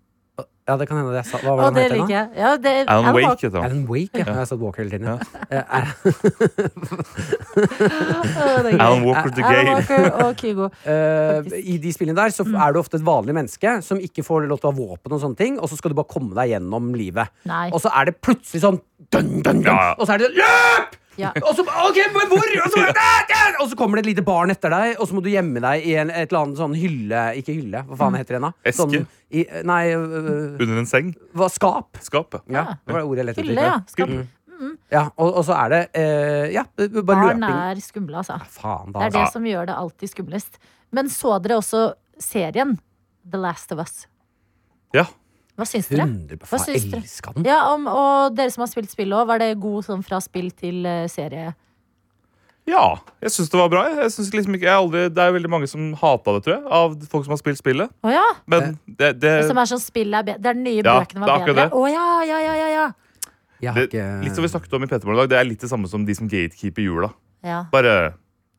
S3: Ja, det kan hende det jeg sa. Hva var
S2: Og det
S3: det han het
S2: liker
S3: igjen, da?
S2: jeg. Ja, det,
S4: Alan Wake heter han.
S3: Alan Wake, ja. Jeg har sagt Walker hele tiden. Eh, er-
S2: Å, det er gøy.
S4: Alan Walker the
S2: Alan
S4: Gay.
S2: Walker og Kygo.
S3: eh,
S2: Faktisk.
S3: I de spillene der så er du ofte et vanlig menneske som ikke får lov til å ha våpen, og sånne ting Og så skal du bare komme deg gjennom livet.
S2: Nei.
S3: Og så er det plutselig sånn dun, dun, dun,
S4: Ja, ja.
S3: Og så er det sånn, løp!
S2: Ja.
S3: Og så, ok, men hvor? Og så, Ah, der! og så kommer det et lite barn etter deg, og så må du gjemme deg i en, et eller annet sånn hylle Ikke hylle, hva
S2: Mm.
S3: faen heter det da?
S4: Eske?
S3: Sånn, i, nei, øh,
S4: Under en seng.
S3: hva, skap.
S4: Skapet.
S3: Ja, det var det ordet jeg lette
S2: Hylle, ja.
S3: etter.
S2: Skal,
S3: Ja, og, og så er det eh, Ja, bare
S2: barn
S3: løping.
S2: er skumle, altså.
S3: Faen,
S2: Det
S3: da.
S2: er det som gjør det alltid skumlest. Men så dere også serien The Last of Us?
S4: Ja.
S2: Hva syns dere?
S3: 100
S2: Hva
S3: Faen,
S2: syns dere?
S3: elsker den.
S2: Ja, om, og dere som har spilt spill òg, var det god sånn fra spill til eh, serie?
S4: Ja, jeg syns det var bra. jeg. Jeg synes liksom ikke, jeg har aldri, det er veldig mange som hata det, tror jeg. Av folk som har spilt spillet.
S2: Å ja!
S4: Men det, det,
S2: Som er sånn spill er bedre. Det er den nye
S4: Ja,
S2: bøkene
S4: det er
S2: var
S4: akkurat
S2: bedre.
S4: det.
S2: Å ja, ja, ja, ja, ja.
S3: Jeg har
S4: det,
S3: ikke-
S4: litt som vi snakket om i P3morgen i dag, det er litt det samme som de som gatekeeper jula.
S2: ja.
S4: Bare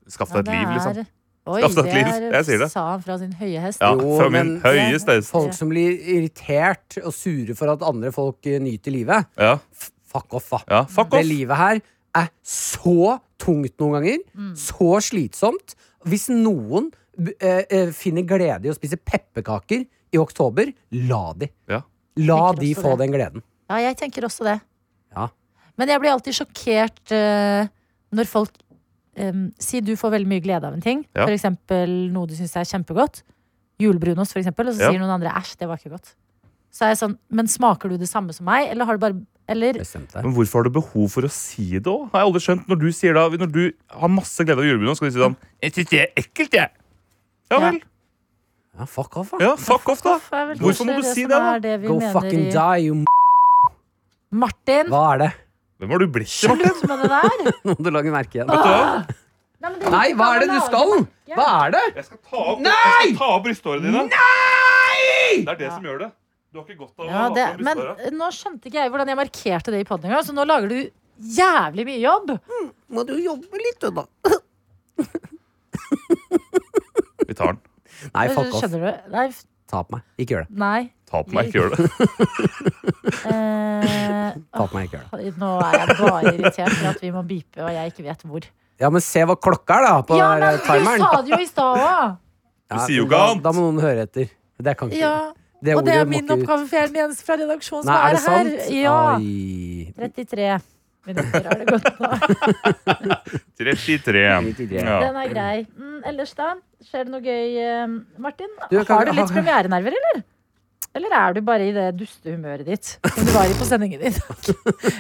S4: skaff
S2: Ja,
S4: deg et liv, liksom.
S2: er- Oi,
S4: Skaff deg et liv.
S2: det
S4: Jeg sier
S2: er,
S4: det.
S2: sa han fra sin høye hest.
S4: Ja,
S3: Jo,
S4: Fra min
S3: men-
S4: høye støyest.
S3: Folk som blir irritert og sure for at andre folk eh, nyter livet.
S4: Ja,
S3: F- Fuck off, da.
S4: ja, fuck
S3: Det
S4: off!
S3: livet her er så tungt noen ganger.
S2: Mm.
S3: Så slitsomt. Hvis noen b- eh, eh, finner glede i å spise pepperkaker i oktober, la de.
S4: Ja.
S3: La
S2: Tenker
S3: de
S2: også
S3: få
S2: det.
S3: den gleden.
S2: Ja, jeg tenker også det.
S3: Ja.
S2: Men jeg blir alltid sjokkert eh, når folk eh, Si du får veldig mye glede av en ting,
S4: Ja.
S2: for eksempel noe du syns er kjempegodt. Julebrunost, for eksempel, og så
S4: Ja.
S2: sier noen andre æsj, det var ikke godt. Så er jeg sånn, men smaker du det samme som meg, eller har du bare Eller
S3: Bestemt deg.
S4: Men hvorfor har du behov for å si det òg? Har jeg aldri skjønt. Når du sier da, når du har masse glede av julebunaden, skal du si sånn Jeg syns det er ekkelt, jeg. Ja vel.
S3: Ja, fuck off, da.
S4: Ja, fuck off, da.
S2: Hvorfor er vel
S4: Hvorfor må
S2: kanskje
S4: du si
S2: som
S4: det, da?
S2: er vi
S3: Go
S2: mener
S3: fucking
S2: i-
S3: die, you m...
S2: Martin,
S3: Hva er det?
S4: Hvem har du blitt?
S2: slutt med det der!
S3: Nå må du lage merke igjen.
S4: Vet du hva?
S2: Nei, men det-
S3: Nei, hva er det du skal? Hva er det?
S4: Jeg skal ta av,
S3: Nei!
S4: jeg skal ta av brysthårene dine.
S3: Nei!
S4: Det er det som gjør det. Du har ikke godt av
S2: Ja,
S4: å
S2: det,
S4: ha på
S2: men
S4: brysthåret.
S2: nå skjønte ikke jeg hvordan jeg markerte det i podden engang, så nå lager du jævlig mye jobb.
S3: Må du jobbe litt, du, da.
S4: Vi tar den.
S3: Nei, fuck off.
S2: Skjønner du? Nei. f-
S3: Ta på meg. Ikke gjør det.
S2: nei.
S4: Ta på meg, ikke gjør det.
S2: Eh,
S3: Ta på meg, ikke gjør det.
S2: nå er jeg bare irritert for at vi må bipe, og jeg ikke vet hvor.
S3: Ja, men se hva klokka er, da, på
S2: Ja,
S3: den
S2: men
S3: der
S2: du
S3: timeren.
S2: sa det jo i stad òg!
S3: Ja,
S4: Du sier jo
S3: men
S4: ikke
S3: da-
S4: annet.
S3: Da må noen høre etter. Det kan ikke
S2: Ja.
S3: det
S2: Og det
S3: ordet
S2: er
S3: må
S2: min
S3: ikke ut.
S2: oppgave, for jeg er den eneste fra redaksjonen som
S3: Nei,
S2: er
S3: er det
S2: her.
S3: sant?
S2: Ja.
S3: Ai.
S2: 33 minutter har det gått nå.
S4: 33. Ja.
S2: Den er grei. Mm, ellers, da? Skjer det noe gøy, eh, Martin?
S3: Du, kan-
S2: har du litt premierenerver, eller? Eller er du bare i det dustehumøret ditt som du var i på sendingen i dag?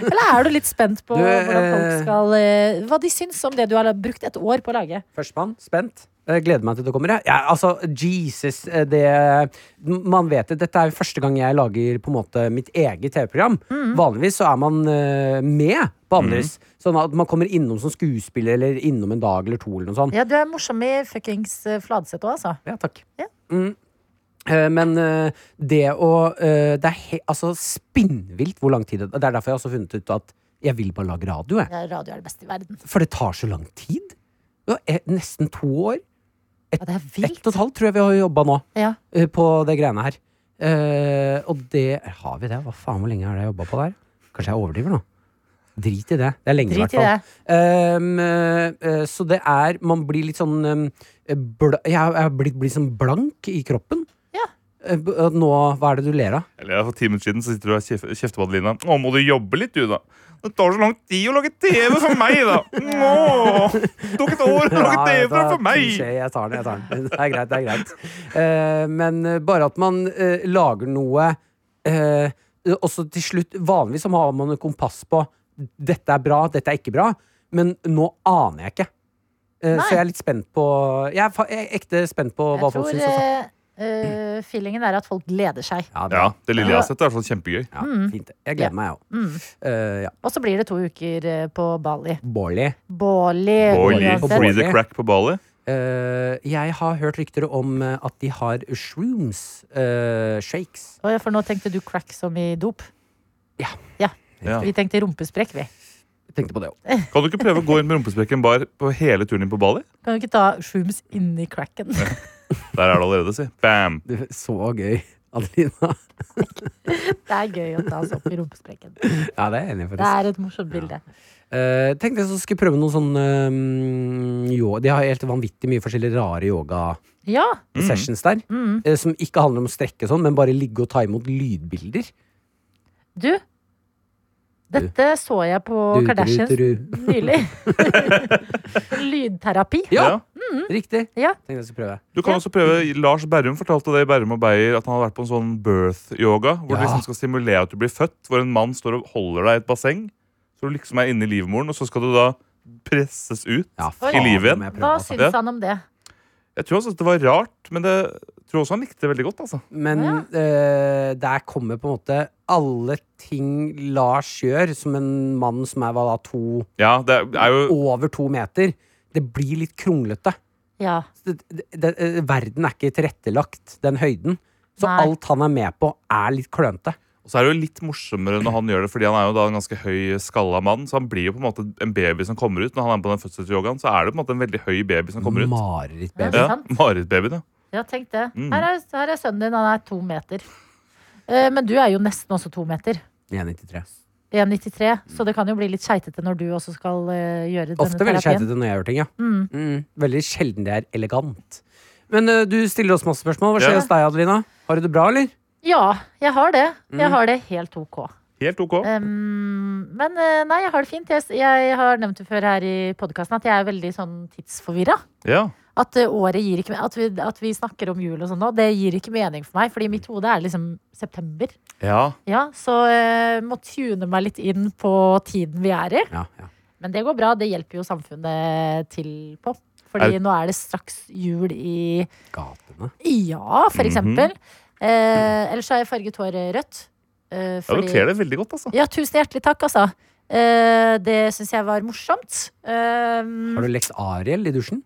S2: Eller er du litt spent på
S3: Du,
S2: hvordan folk
S3: eh,
S2: skal eh, Hva de syns om det du har brukt et år på å lage?
S3: Førstemann, spent. Jeg gleder meg til det kommer. jeg. Ja, altså, Jesus, eh, det Man vet det. Dette er jo første gang jeg lager på en måte mitt eget TV-program.
S2: Mm.
S3: Vanligvis så er man eh, med på
S4: Mm.
S3: andres. Sånn at man kommer innom som skuespiller eller innom en dag eller to eller noe sånt.
S2: Ja, du er morsom i fuckings eh, Fladseth òg, altså.
S3: Ja, takk.
S2: Ja.
S3: Mm. Eh, Men eh, det å eh, Det er he altså spinnvilt hvor lang tid det Det er derfor jeg har også funnet ut at jeg vil bare lage radio. Jeg.
S2: Ja, Radio er det beste i verden.
S3: For det tar så lang tid. Det var, eh, nesten to år.
S2: Ja, det er
S3: Ett
S2: vilt.
S3: og et halvt tror jeg vi har jobba nå
S2: Ja.
S3: eh, på det greiene her. Eh, og det Har vi det? Hva faen, hvor lenge har jeg jobba på det her? Kanskje jeg overdriver nå? Drit i det. Det er lenge, i
S2: Drit
S3: hvert
S2: i
S3: fall.
S2: det.
S3: Um, eh, eh, så det er Man blir litt sånn um, bla, Jeg er blitt, blitt sånn blank i kroppen.
S2: Ja.
S3: Eh, b- og Nå, hva er det du ler av?
S4: Eller For ti minutter siden så sitter du og kjef- kjefter på Adelina. Å, må du jobbe litt, du, da? Det tar så lang tid å lage TV for meg, da! Nå, det tok et år å lage TV
S3: da-
S4: for meg!
S3: touché, Jeg tar den, jeg tar den. Det er greit, det er greit. Eh, men eh, bare at man eh, lager noe eh, Også til slutt Vanligvis så har man et kompass på dette er bra, dette er ikke bra, men nå aner jeg ikke. Eh,
S2: Nei.
S3: så jeg er litt spent på Jeg er, fa jeg er ekte spent på hva
S2: Jeg
S3: folk
S2: tror
S3: syns. altså.
S2: eh, eh, feelingen er at folk gleder seg.
S3: Ja, bra.
S4: Ja, Det lille jeg har sett, er i hvert fall kjempegøy.
S3: Ja,
S2: Mm.
S3: fint. Jeg gleder meg, jeg òg. Eh, ja.
S2: Og så blir det to uker eh, på Bali.
S3: Bårli.
S2: Bårli.
S4: Boily,
S3: På
S2: uansett.
S3: Bali.
S4: free the crack på Bali.
S3: Eh, jeg har hørt rykter om eh, at de har shrooms eh, shakes.
S2: Å, ja, For nå tenkte du crack som i dop.
S3: Ja.
S4: Ja.
S2: Vi tenkte rumpesprekk, vi.
S3: Jeg tenkte på det òg.
S4: Kan du ikke prøve å gå inn med rumpesprekken bar på hele turen din på Bali?
S2: Kan du ikke ta shrooms inni cracken?
S4: Der er det allerede, si. Bam!
S3: Så gøy, Adelina.
S2: Det er gøy å ta oss opp i rumpesprekken.
S3: Ja, det er jeg enig i,
S2: Det
S3: faktisk.
S2: er et morsomt bilde.
S3: Eh, tenkte jeg så skulle prøve noen sånn eh, yo- De har helt vanvittig mye forskjellige rare yoga-sessions
S2: Ja,
S3: der.
S2: Mm.
S3: eh, som ikke handler om å strekke sånn, men bare ligge og ta imot lydbilder.
S2: du. Dette så jeg på
S3: Du, du,
S2: Kardashians
S3: du, du.
S2: nylig. Lydterapi.
S3: Ja, riktig.
S2: Mm. Ja.
S3: Tenkte jeg skulle prøve.
S4: Du kan også prøve, Lars Berrum fortalte det i Berrum og Beyer at han hadde vært på en sånn birth-yoga. Hvor
S3: Ja.
S4: det liksom skal simulere at du blir født, hvor en mann står og holder deg i et basseng. Så du liksom er inne i livmoren, og så skal du da presses ut.
S3: Ja,
S2: I
S4: livet igjen?
S3: må jeg prøve,
S2: Hva
S3: altså.
S2: syns han om det?
S4: Jeg tror han syntes det var rart, men det jeg tror også han likte det veldig godt. altså.
S3: Men eh, der kommer på en måte alle ting Lars gjør, som en mann som er hva da, to,
S4: Ja, det er jo...
S3: over to meter. Det blir litt kronglete.
S2: Ja.
S3: Det, det, det, eh, verden er ikke tilrettelagt, den høyden. Så
S2: Nei.
S3: alt han er med på, er litt klønete.
S4: Og så er det jo litt morsommere når han gjør det, fordi han er jo da en ganske høy, skalla mann. Så han blir jo på en måte en baby som kommer ut. Når han er på den fødselsyogaen, så er det på en måte en veldig høy baby som kommer ut.
S3: Marerittbaby.
S2: det
S4: Ja,
S2: sant?
S4: Marerittbabyen, ja.
S2: Ja, tenk det.
S4: Mm.
S2: Her, er, her er sønnen din, han er to meter. Eh, Men du er jo nesten også to meter.
S3: 1,93.
S2: 1,93, så det kan jo bli litt skeitete når du også skal eh, gjøre denne
S3: Ofte veldig
S2: terapien.
S3: skeitete når jeg gjør ting, ja.
S2: Mm.
S3: Mm. Veldig sjelden det er elegant. Men eh, du stiller oss masse spørsmål. Hva skjer
S4: Ja.
S3: hos deg, Adelina? Har du det bra, eller?
S2: Ja, jeg har det.
S3: Mm.
S2: Jeg har det helt OK.
S4: Helt ok.
S2: Um, men eh, nei, jeg har det fint. Jeg, s- jeg har nevnt det før her i podkasten at jeg er veldig sånn tidsforvirra.
S4: Ja.
S2: At eh, året gir ikke me- at vi, at vi snakker om jul og sånn nå, det gir ikke mening for meg. Fordi i mitt hode er liksom september.
S4: ja.
S2: Ja, så jeg må tune meg litt inn på tiden vi er i.
S3: Ja, ja.
S2: Men det går bra. Det hjelper jo samfunnet til på. Fordi
S4: Er-
S2: nå er det straks jul i
S3: Gatene.
S2: Ja, for
S4: Mhm.
S2: eksempel. eh, ellers så har jeg farget håret rødt. Eh,
S4: Ja,
S2: fordi-
S4: Du kler det veldig godt, altså.
S2: Ja, tusen hjertelig takk, altså. Eh, det syns jeg var morsomt. Eh,
S3: Har du Lex Ariel i dusjen?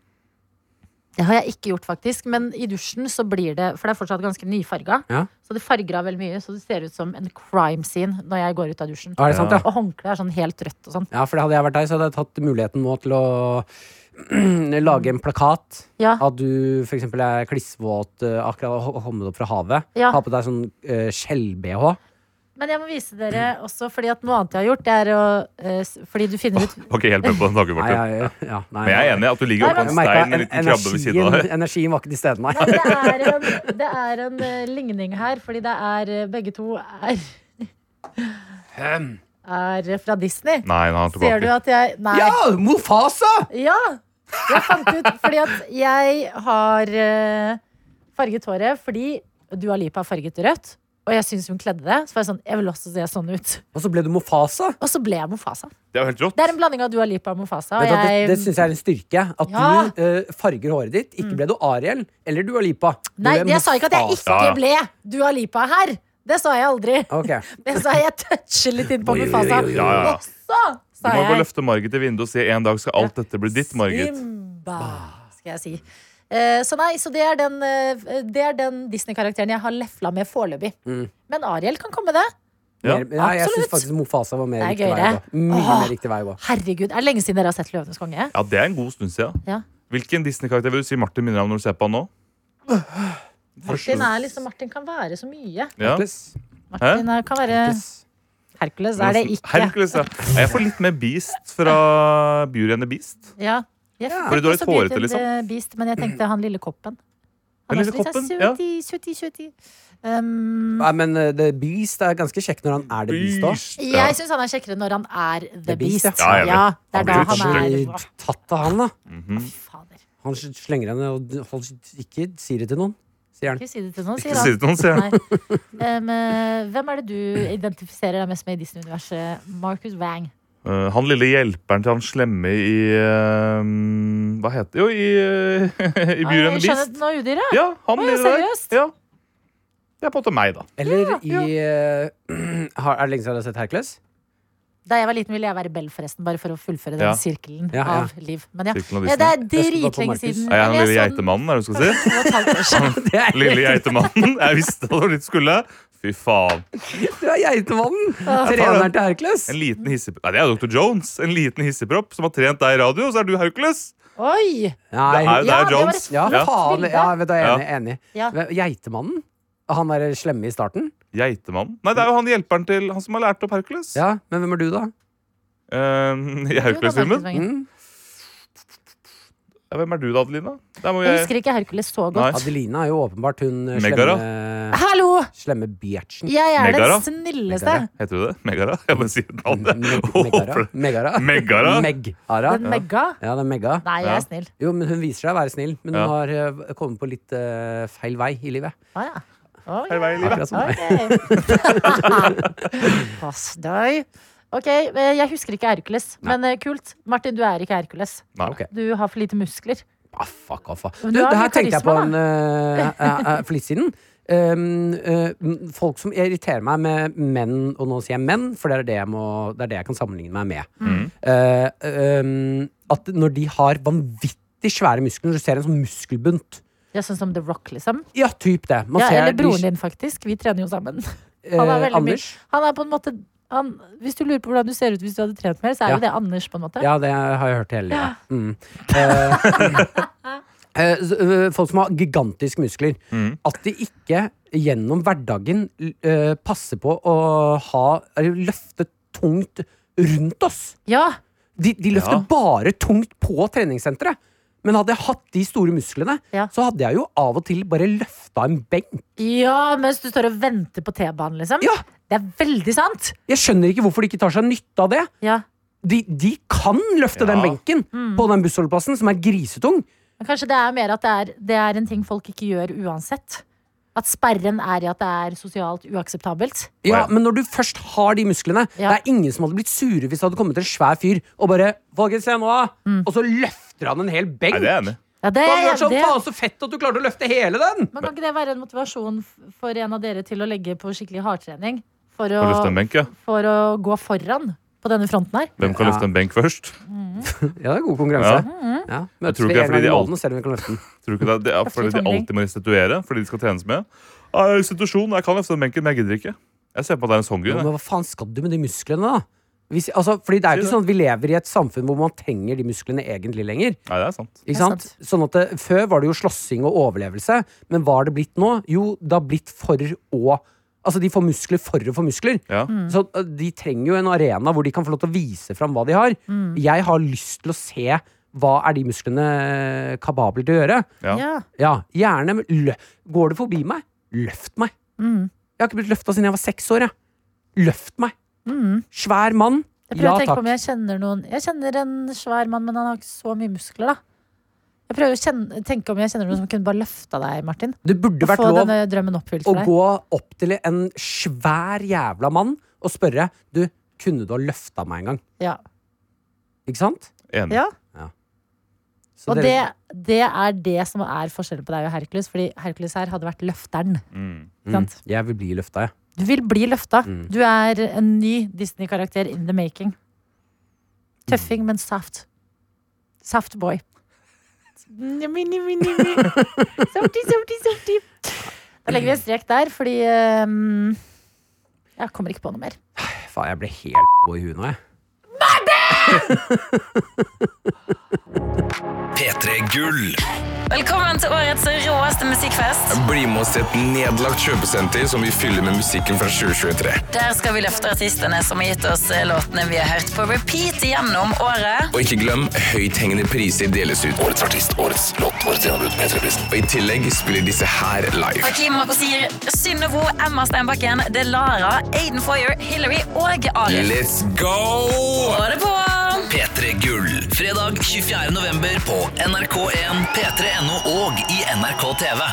S2: det har jeg ikke gjort, faktisk. Men i dusjen så blir det For det er fortsatt ganske nyfarga.
S3: Ja.
S2: Så det farger av veldig mye, så det ser ut som en crime scene når jeg går ut av dusjen.
S3: Er det sant, ja?
S2: Og håndkleet er sånn helt rødt og sånn.
S3: Ja, for hadde jeg vært deg, så hadde jeg tatt muligheten nå til å lage en plakat.
S2: Ja.
S3: At du for eksempel er klissvåt, eh, akkurat har kommet opp fra havet.
S2: Ja.
S3: Ha på deg sånn eh, skjell-BH.
S2: Men jeg må vise dere også, fordi at noe annet jeg har gjort, det er å eh, s- Fordi du finner ut
S4: Var ikke helt med på den tanken,
S3: Nei,
S4: Martin.
S3: jeg- ja, nei,
S4: Men jeg er enig i at du ligger
S2: Nei,
S4: oppå en
S3: Jeg merket
S4: stein med en
S3: en-
S4: liten krabbe ved siden av
S3: energien-
S4: deg.
S3: Energien var ikke til stede, nei.
S2: Nei, men det er en, det er en eh, ligning her, fordi det er eh, begge to er Er fra Disney.
S4: Nei, nå er han
S2: Ser du
S4: tilbake.
S2: at jeg Nei.
S3: Ja! Mofasa!
S2: Ja! Jeg fant ut fordi at jeg har eh, farget håret fordi Dua Lipa har farget det rødt, og jeg syns hun kledde det. Så var jeg sånn Jeg vil også se sånn ut.
S3: Og så ble du Mofasa.
S2: Og så ble jeg Mofasa.
S4: Det er jo helt rått.
S2: Det er en blanding av Dua Lipa og Mofasa. Og
S3: Vet du, hva, det
S2: jeg,
S3: det syns jeg er en styrke. At
S2: Ja. Mm.
S3: du eh, farger håret ditt. Ikke ble du Ariel eller Dua Lipa. Du
S2: nei,
S3: ble
S2: jeg sa ikke at jeg
S3: Mufasa.
S2: ikke
S4: Ja, ja.
S2: ble Dua Lipa her. Det sa jeg aldri.
S3: Ok.
S2: Men så jeg toucher litt inn på Mufasa.
S4: oi, oi, oi.
S2: Og så
S4: Du
S2: sa
S4: må gå og
S2: jeg
S4: løfte Margit i vinduet og si en dag skal alt dette bli ditt, Margit.
S2: Simba, skal jeg si. Eh, Så nei, så det er den, eh, det er den Disney-karakteren jeg har lefla med foreløpig. Men Ariel kan komme, det.
S4: Ja.
S3: Mer, ja, jeg syns
S2: Absolutt.
S3: faktisk Mofasa var mer
S2: Det er
S3: riktig vei å
S2: gøyere.
S3: gå. Mye
S2: Åh.
S3: mer riktig vei å gå.
S2: Herregud, det er lenge siden dere har sett Løvenes konge.
S4: Ja, det er en god stund siden.
S2: Ja.
S4: Hvilken Disney-karakter vil du si Martin minner om når du ser på han nå?
S2: Martin, er liksom, Martin kan være så mye.
S4: Ja.
S3: Hercules.
S2: Martin er, kan være
S3: Hercules.
S2: Hercules. Er det ikke?
S4: Hercules, ja. Nei, Jeg får litt mer Beast fra Beauty and the Beast.
S2: Ja. Jeg fikk
S4: Fordi du har litt
S2: også Beauty
S4: hårete,
S2: and the
S4: liksom.
S2: Beast, men jeg tenkte han lille koppen. Han
S4: Den lille
S2: også litt sånn
S4: koppen, ja.
S2: søti, søti, søti. Um,
S3: Nei, men eh, The Beast er ganske kjekk når han er The Beast òg.
S4: Ja.
S2: Jeg syns han er kjekkere når han er The
S3: The Beast,
S2: Beast.
S3: ja.
S4: Ja, jeg
S2: det
S4: vet. Han
S2: er da
S4: blir
S2: han er
S3: Blir tatt av han, da.
S2: Å,
S4: Mhm.
S2: Fy fader.
S3: Han slenger henne og d- hold, ikke si det til noen, sier han.
S2: Ikke si det til noen, sier
S4: Ikke
S2: han.
S4: si det til noen, sier jeg.
S2: Nei. Um, eh, hvem er det du identifiserer deg mest med i Disney-universet? Marcus Wang.
S4: Eh, han lille hjelperen til han slemme i eh, Hva heter Jo, i, uh,
S2: Nei,
S4: i Beauty and the Beast.
S2: Skjønnheten og udyret?
S4: Ja, han
S2: Oi,
S4: lille der.
S2: seriøst?
S4: Ja. Det er på en måte meg, da.
S3: Eller i eh, har, Er det lenge siden du har sett Hercules?
S2: Da jeg var liten, ville jeg være Bell, forresten. Bare for å fullføre den
S4: Ja.
S2: sirkelen
S3: Ja, ja.
S2: av liv. Men ja.
S4: Sirkelen av
S2: ja det er
S3: Jeg skulle bare på
S2: dritlenge
S3: Markus.
S2: siden.
S4: Er jeg den
S2: Eller
S4: lille
S2: sånn-
S4: geitemannen, er det du skal si?
S2: Det var et halvt år siden.
S3: Det er,
S4: Lille geitemannen. Jeg visste det var dit du skulle. Fy faen.
S3: du er geitemannen! Treneren til Hercules.
S4: En liten hissepropp. Nei, det er Dr. Jones. En liten hissepropp som har trent deg i radio, så er du Hercules.
S2: Oi!
S3: Nei.
S4: Det er jo
S2: Ja,
S4: det er
S2: det var
S4: Jones.
S2: et
S3: Ja,
S4: Ja.
S3: faen.
S2: bilde.
S3: Ja, vet du, jeg er enig. enig.
S2: Ja.
S3: Men Geitemannen? Han derre slemme i starten?
S4: Geitemannen. Nei, det er jo han hjelperen til han som har lært opp Hercules.
S3: Ja, men hvem er du, da?
S4: Eh, I Hercules-filmen.
S3: Mm.
S4: Ja, hvem er du da, Adelina? Der må
S2: Jeg
S4: jeg
S2: husker ikke Hercules så
S4: Nei.
S2: godt.
S3: Adelina er jo åpenbart hun eh,
S4: Megara.
S3: slemme,
S2: Hallo!
S3: slemme bjertsen.
S2: Jeg er
S4: Megara?
S2: den snilleste.
S3: Megara.
S4: Heter du det? Megara? Jeg må si navnet.
S3: Meg-
S4: Og
S3: Megara.
S4: håper det.
S3: Megara.
S4: Megara?
S3: Megara.
S2: Den Megga.
S3: Ja, det er Megga.
S2: Nei, jeg
S4: Ja.
S2: er snill.
S3: Jo, men hun viser seg å være snill, men hun
S4: Ja.
S3: har eh, kommet på litt eh, feil vei i livet.
S2: Å ja. Å,
S4: Hei,
S2: ja.
S4: vei i livet.
S3: Akkurat som deg.
S2: Ok. Pass deg. Ok, eh, jeg husker ikke Hercules, men eh, kult. Martin, du er ikke Hercules.
S4: Nei.
S3: Ok.
S2: Du har for lite muskler.
S3: Ah, fuck off, ah.
S2: Men
S3: Du,
S2: du har
S3: det her
S2: mye
S3: tenkte jeg på
S2: karisma,
S3: en, eh, eh, eh, for litt siden. Um, eh, m- folk som irriterer meg med menn, og nå sier jeg menn, for det er det jeg, må, det er det jeg kan sammenligne meg med.
S4: Mm.
S2: Mm.
S3: Eh, um, at når de har vanvittig svære muskler, når du ser en sånn muskelbunt
S2: Ja, sånn som The Rock, liksom.
S3: Ja, typ det. Man
S2: Ja,
S3: ser
S2: eller
S3: de-
S2: broren din, faktisk. Vi trener jo sammen. Han er
S3: eh,
S2: veldig mye.
S3: Anders.
S2: Han er på en måte han, Hvis du lurer på hvordan du ser ut hvis du hadde trent mer, så er
S3: Ja.
S2: jo det Anders, på en måte.
S3: Ja, det har jeg hørt hele livet. Mm. Eh, eh, s- eh, folk som har gigantiske muskler.
S4: Mm.
S3: At de ikke gjennom hverdagen eh, passer på å ha eller løfte tungt rundt oss.
S2: Ja,
S3: De, de løfter
S4: Ja.
S3: bare tungt på treningssenteret. Men hadde jeg hatt de store musklene,
S2: Ja.
S3: så hadde jeg jo av og til bare løfta en benk.
S2: Ja, mens du står og venter på T-banen, liksom.
S3: Ja.
S2: Det er veldig sant!
S3: Jeg skjønner ikke hvorfor de ikke tar seg nytte av det.
S2: Ja.
S3: De, de kan løfte
S4: Ja.
S3: den benken på den bussholdeplassen, som er grisetung.
S2: Men kanskje det er mer at det er, det er en ting folk ikke gjør uansett. At sperren er i at det er sosialt uakseptabelt.
S3: Ja,
S4: Right.
S3: men når du først har de musklene
S2: Ja.
S3: Det er ingen som hadde blitt sure hvis det hadde kommet en svær fyr og bare Folkens, se nå! da!» Og så løfter han en hel benk!
S4: Nei, det er jeg enig i.
S2: Mm. Ja, det
S3: Da hadde
S2: er
S3: det vært
S2: jeg
S3: sånn,
S2: enig i.
S3: faen så fett at du klarte å løfte hele den!
S2: Men kan ikke det være en motivasjon f- for en av dere til å legge på skikkelig hardtrening? For å,
S4: Kan løfte en benk, ja.
S2: for å gå foran på denne fronten her?
S4: Hvem kan
S3: Ja.
S4: løfte en benk først?
S3: Ja, det er god konkurranse.
S4: Ja.
S3: Ja.
S2: Mm-hmm.
S3: Møtes
S4: tror
S3: vi
S4: ikke det
S3: en
S4: er fordi
S3: gang
S4: de
S3: i
S4: alt-
S3: måneden, selv om vi kan løfte den.
S4: Tror du ikke det er, det er fordi de
S2: tomring.
S4: alltid må restituere? Fordi de skal trenes med? Ah, Restitusjon. Jeg kan løfte den benken, men jeg gidder ikke. Jeg ser på at det er en sånn
S3: Ja,
S4: grunn. jeg.
S3: men hva faen skal du med de musklene, da? Hvis, altså, fordi det er jo ikke
S4: Si det.
S3: sånn at Vi lever i et samfunn hvor man trenger de musklene egentlig lenger.
S4: Nei, det er sant.
S3: Ikke
S2: er
S3: sant? Sånn at det, Før var det jo slåssing og overlevelse, men hva har det blitt nå? Jo, det har blitt for å Altså, de får muskler for å få muskler.
S4: Ja.
S2: Mm.
S3: Så ø, de trenger jo en arena hvor de kan få lov til å vise fram hva de har.
S2: Mm.
S3: Jeg har lyst til å se hva er de musklene ø, kapable til å gjøre.
S4: Ja.
S2: Ja.
S3: Ja, gjerne men lø Går det forbi meg? Løft meg.
S2: Mm.
S3: Jeg har ikke blitt løfta siden jeg var seks år, jeg. Løft meg. Svær mann.
S2: Mm. Jeg prøver
S3: Ja
S2: å tenke på om
S3: takk.
S2: jeg kjenner noen Jeg kjenner en svær mann, men han har ikke så mye muskler, da. Jeg prøver å kjenne, tenke om jeg kjenner noen som kunne bare løfta deg, Martin.
S3: Det burde
S2: Og
S3: vært
S2: få
S3: lov
S2: denne drømmen oppfylt
S3: å
S2: for deg.
S3: gå opp til en svær jævla mann og spørre Du, kunne du ha løfta meg en gang?
S2: Ja.
S3: Ikke sant?
S4: Enig.
S2: ja.
S3: Så
S2: og det,
S3: dere-
S2: det er det som er forskjellen på deg og Hercules, fordi Hercules her hadde vært løfteren.
S4: Mm.
S2: ikke sant?
S3: mm, Jeg vil bli løfta, jeg.
S2: Du vil bli løfta.
S3: Mm.
S2: Du er en ny Disney-karakter in the making. Tøffing, men saft. Saft boy. Njami, njami, njami. Softy, softy, softy. Da legger vi en strek der, fordi ehm, Jeg kommer ikke på noe mer.
S3: Faen, jeg ble helt på i huet nå, jeg.
S1: P3 Gull.
S5: Velkommen til årets råeste musikkfest.
S6: Bli med oss til et nedlagt kjøpesenter som vi fyller med musikken fra 2023.
S5: Der skal vi løfte artistene som har gitt oss eh, låtene vi har hørt på repeat gjennom året.
S6: Og ikke glem, høythengende priser deles ut. Årets artist, årets låt, årets gjennombrudd, P3-prisen. Og i tillegg spiller disse her live.
S5: Hakim sier Synnevo, Emma Steinbakken, Delara, Aiden Foyer, Hillary og Arif.
S6: Let's go!
S5: Få det på!
S1: P3 Gull. Fredag 24. november på NRK1, P3.no og i NRK TV.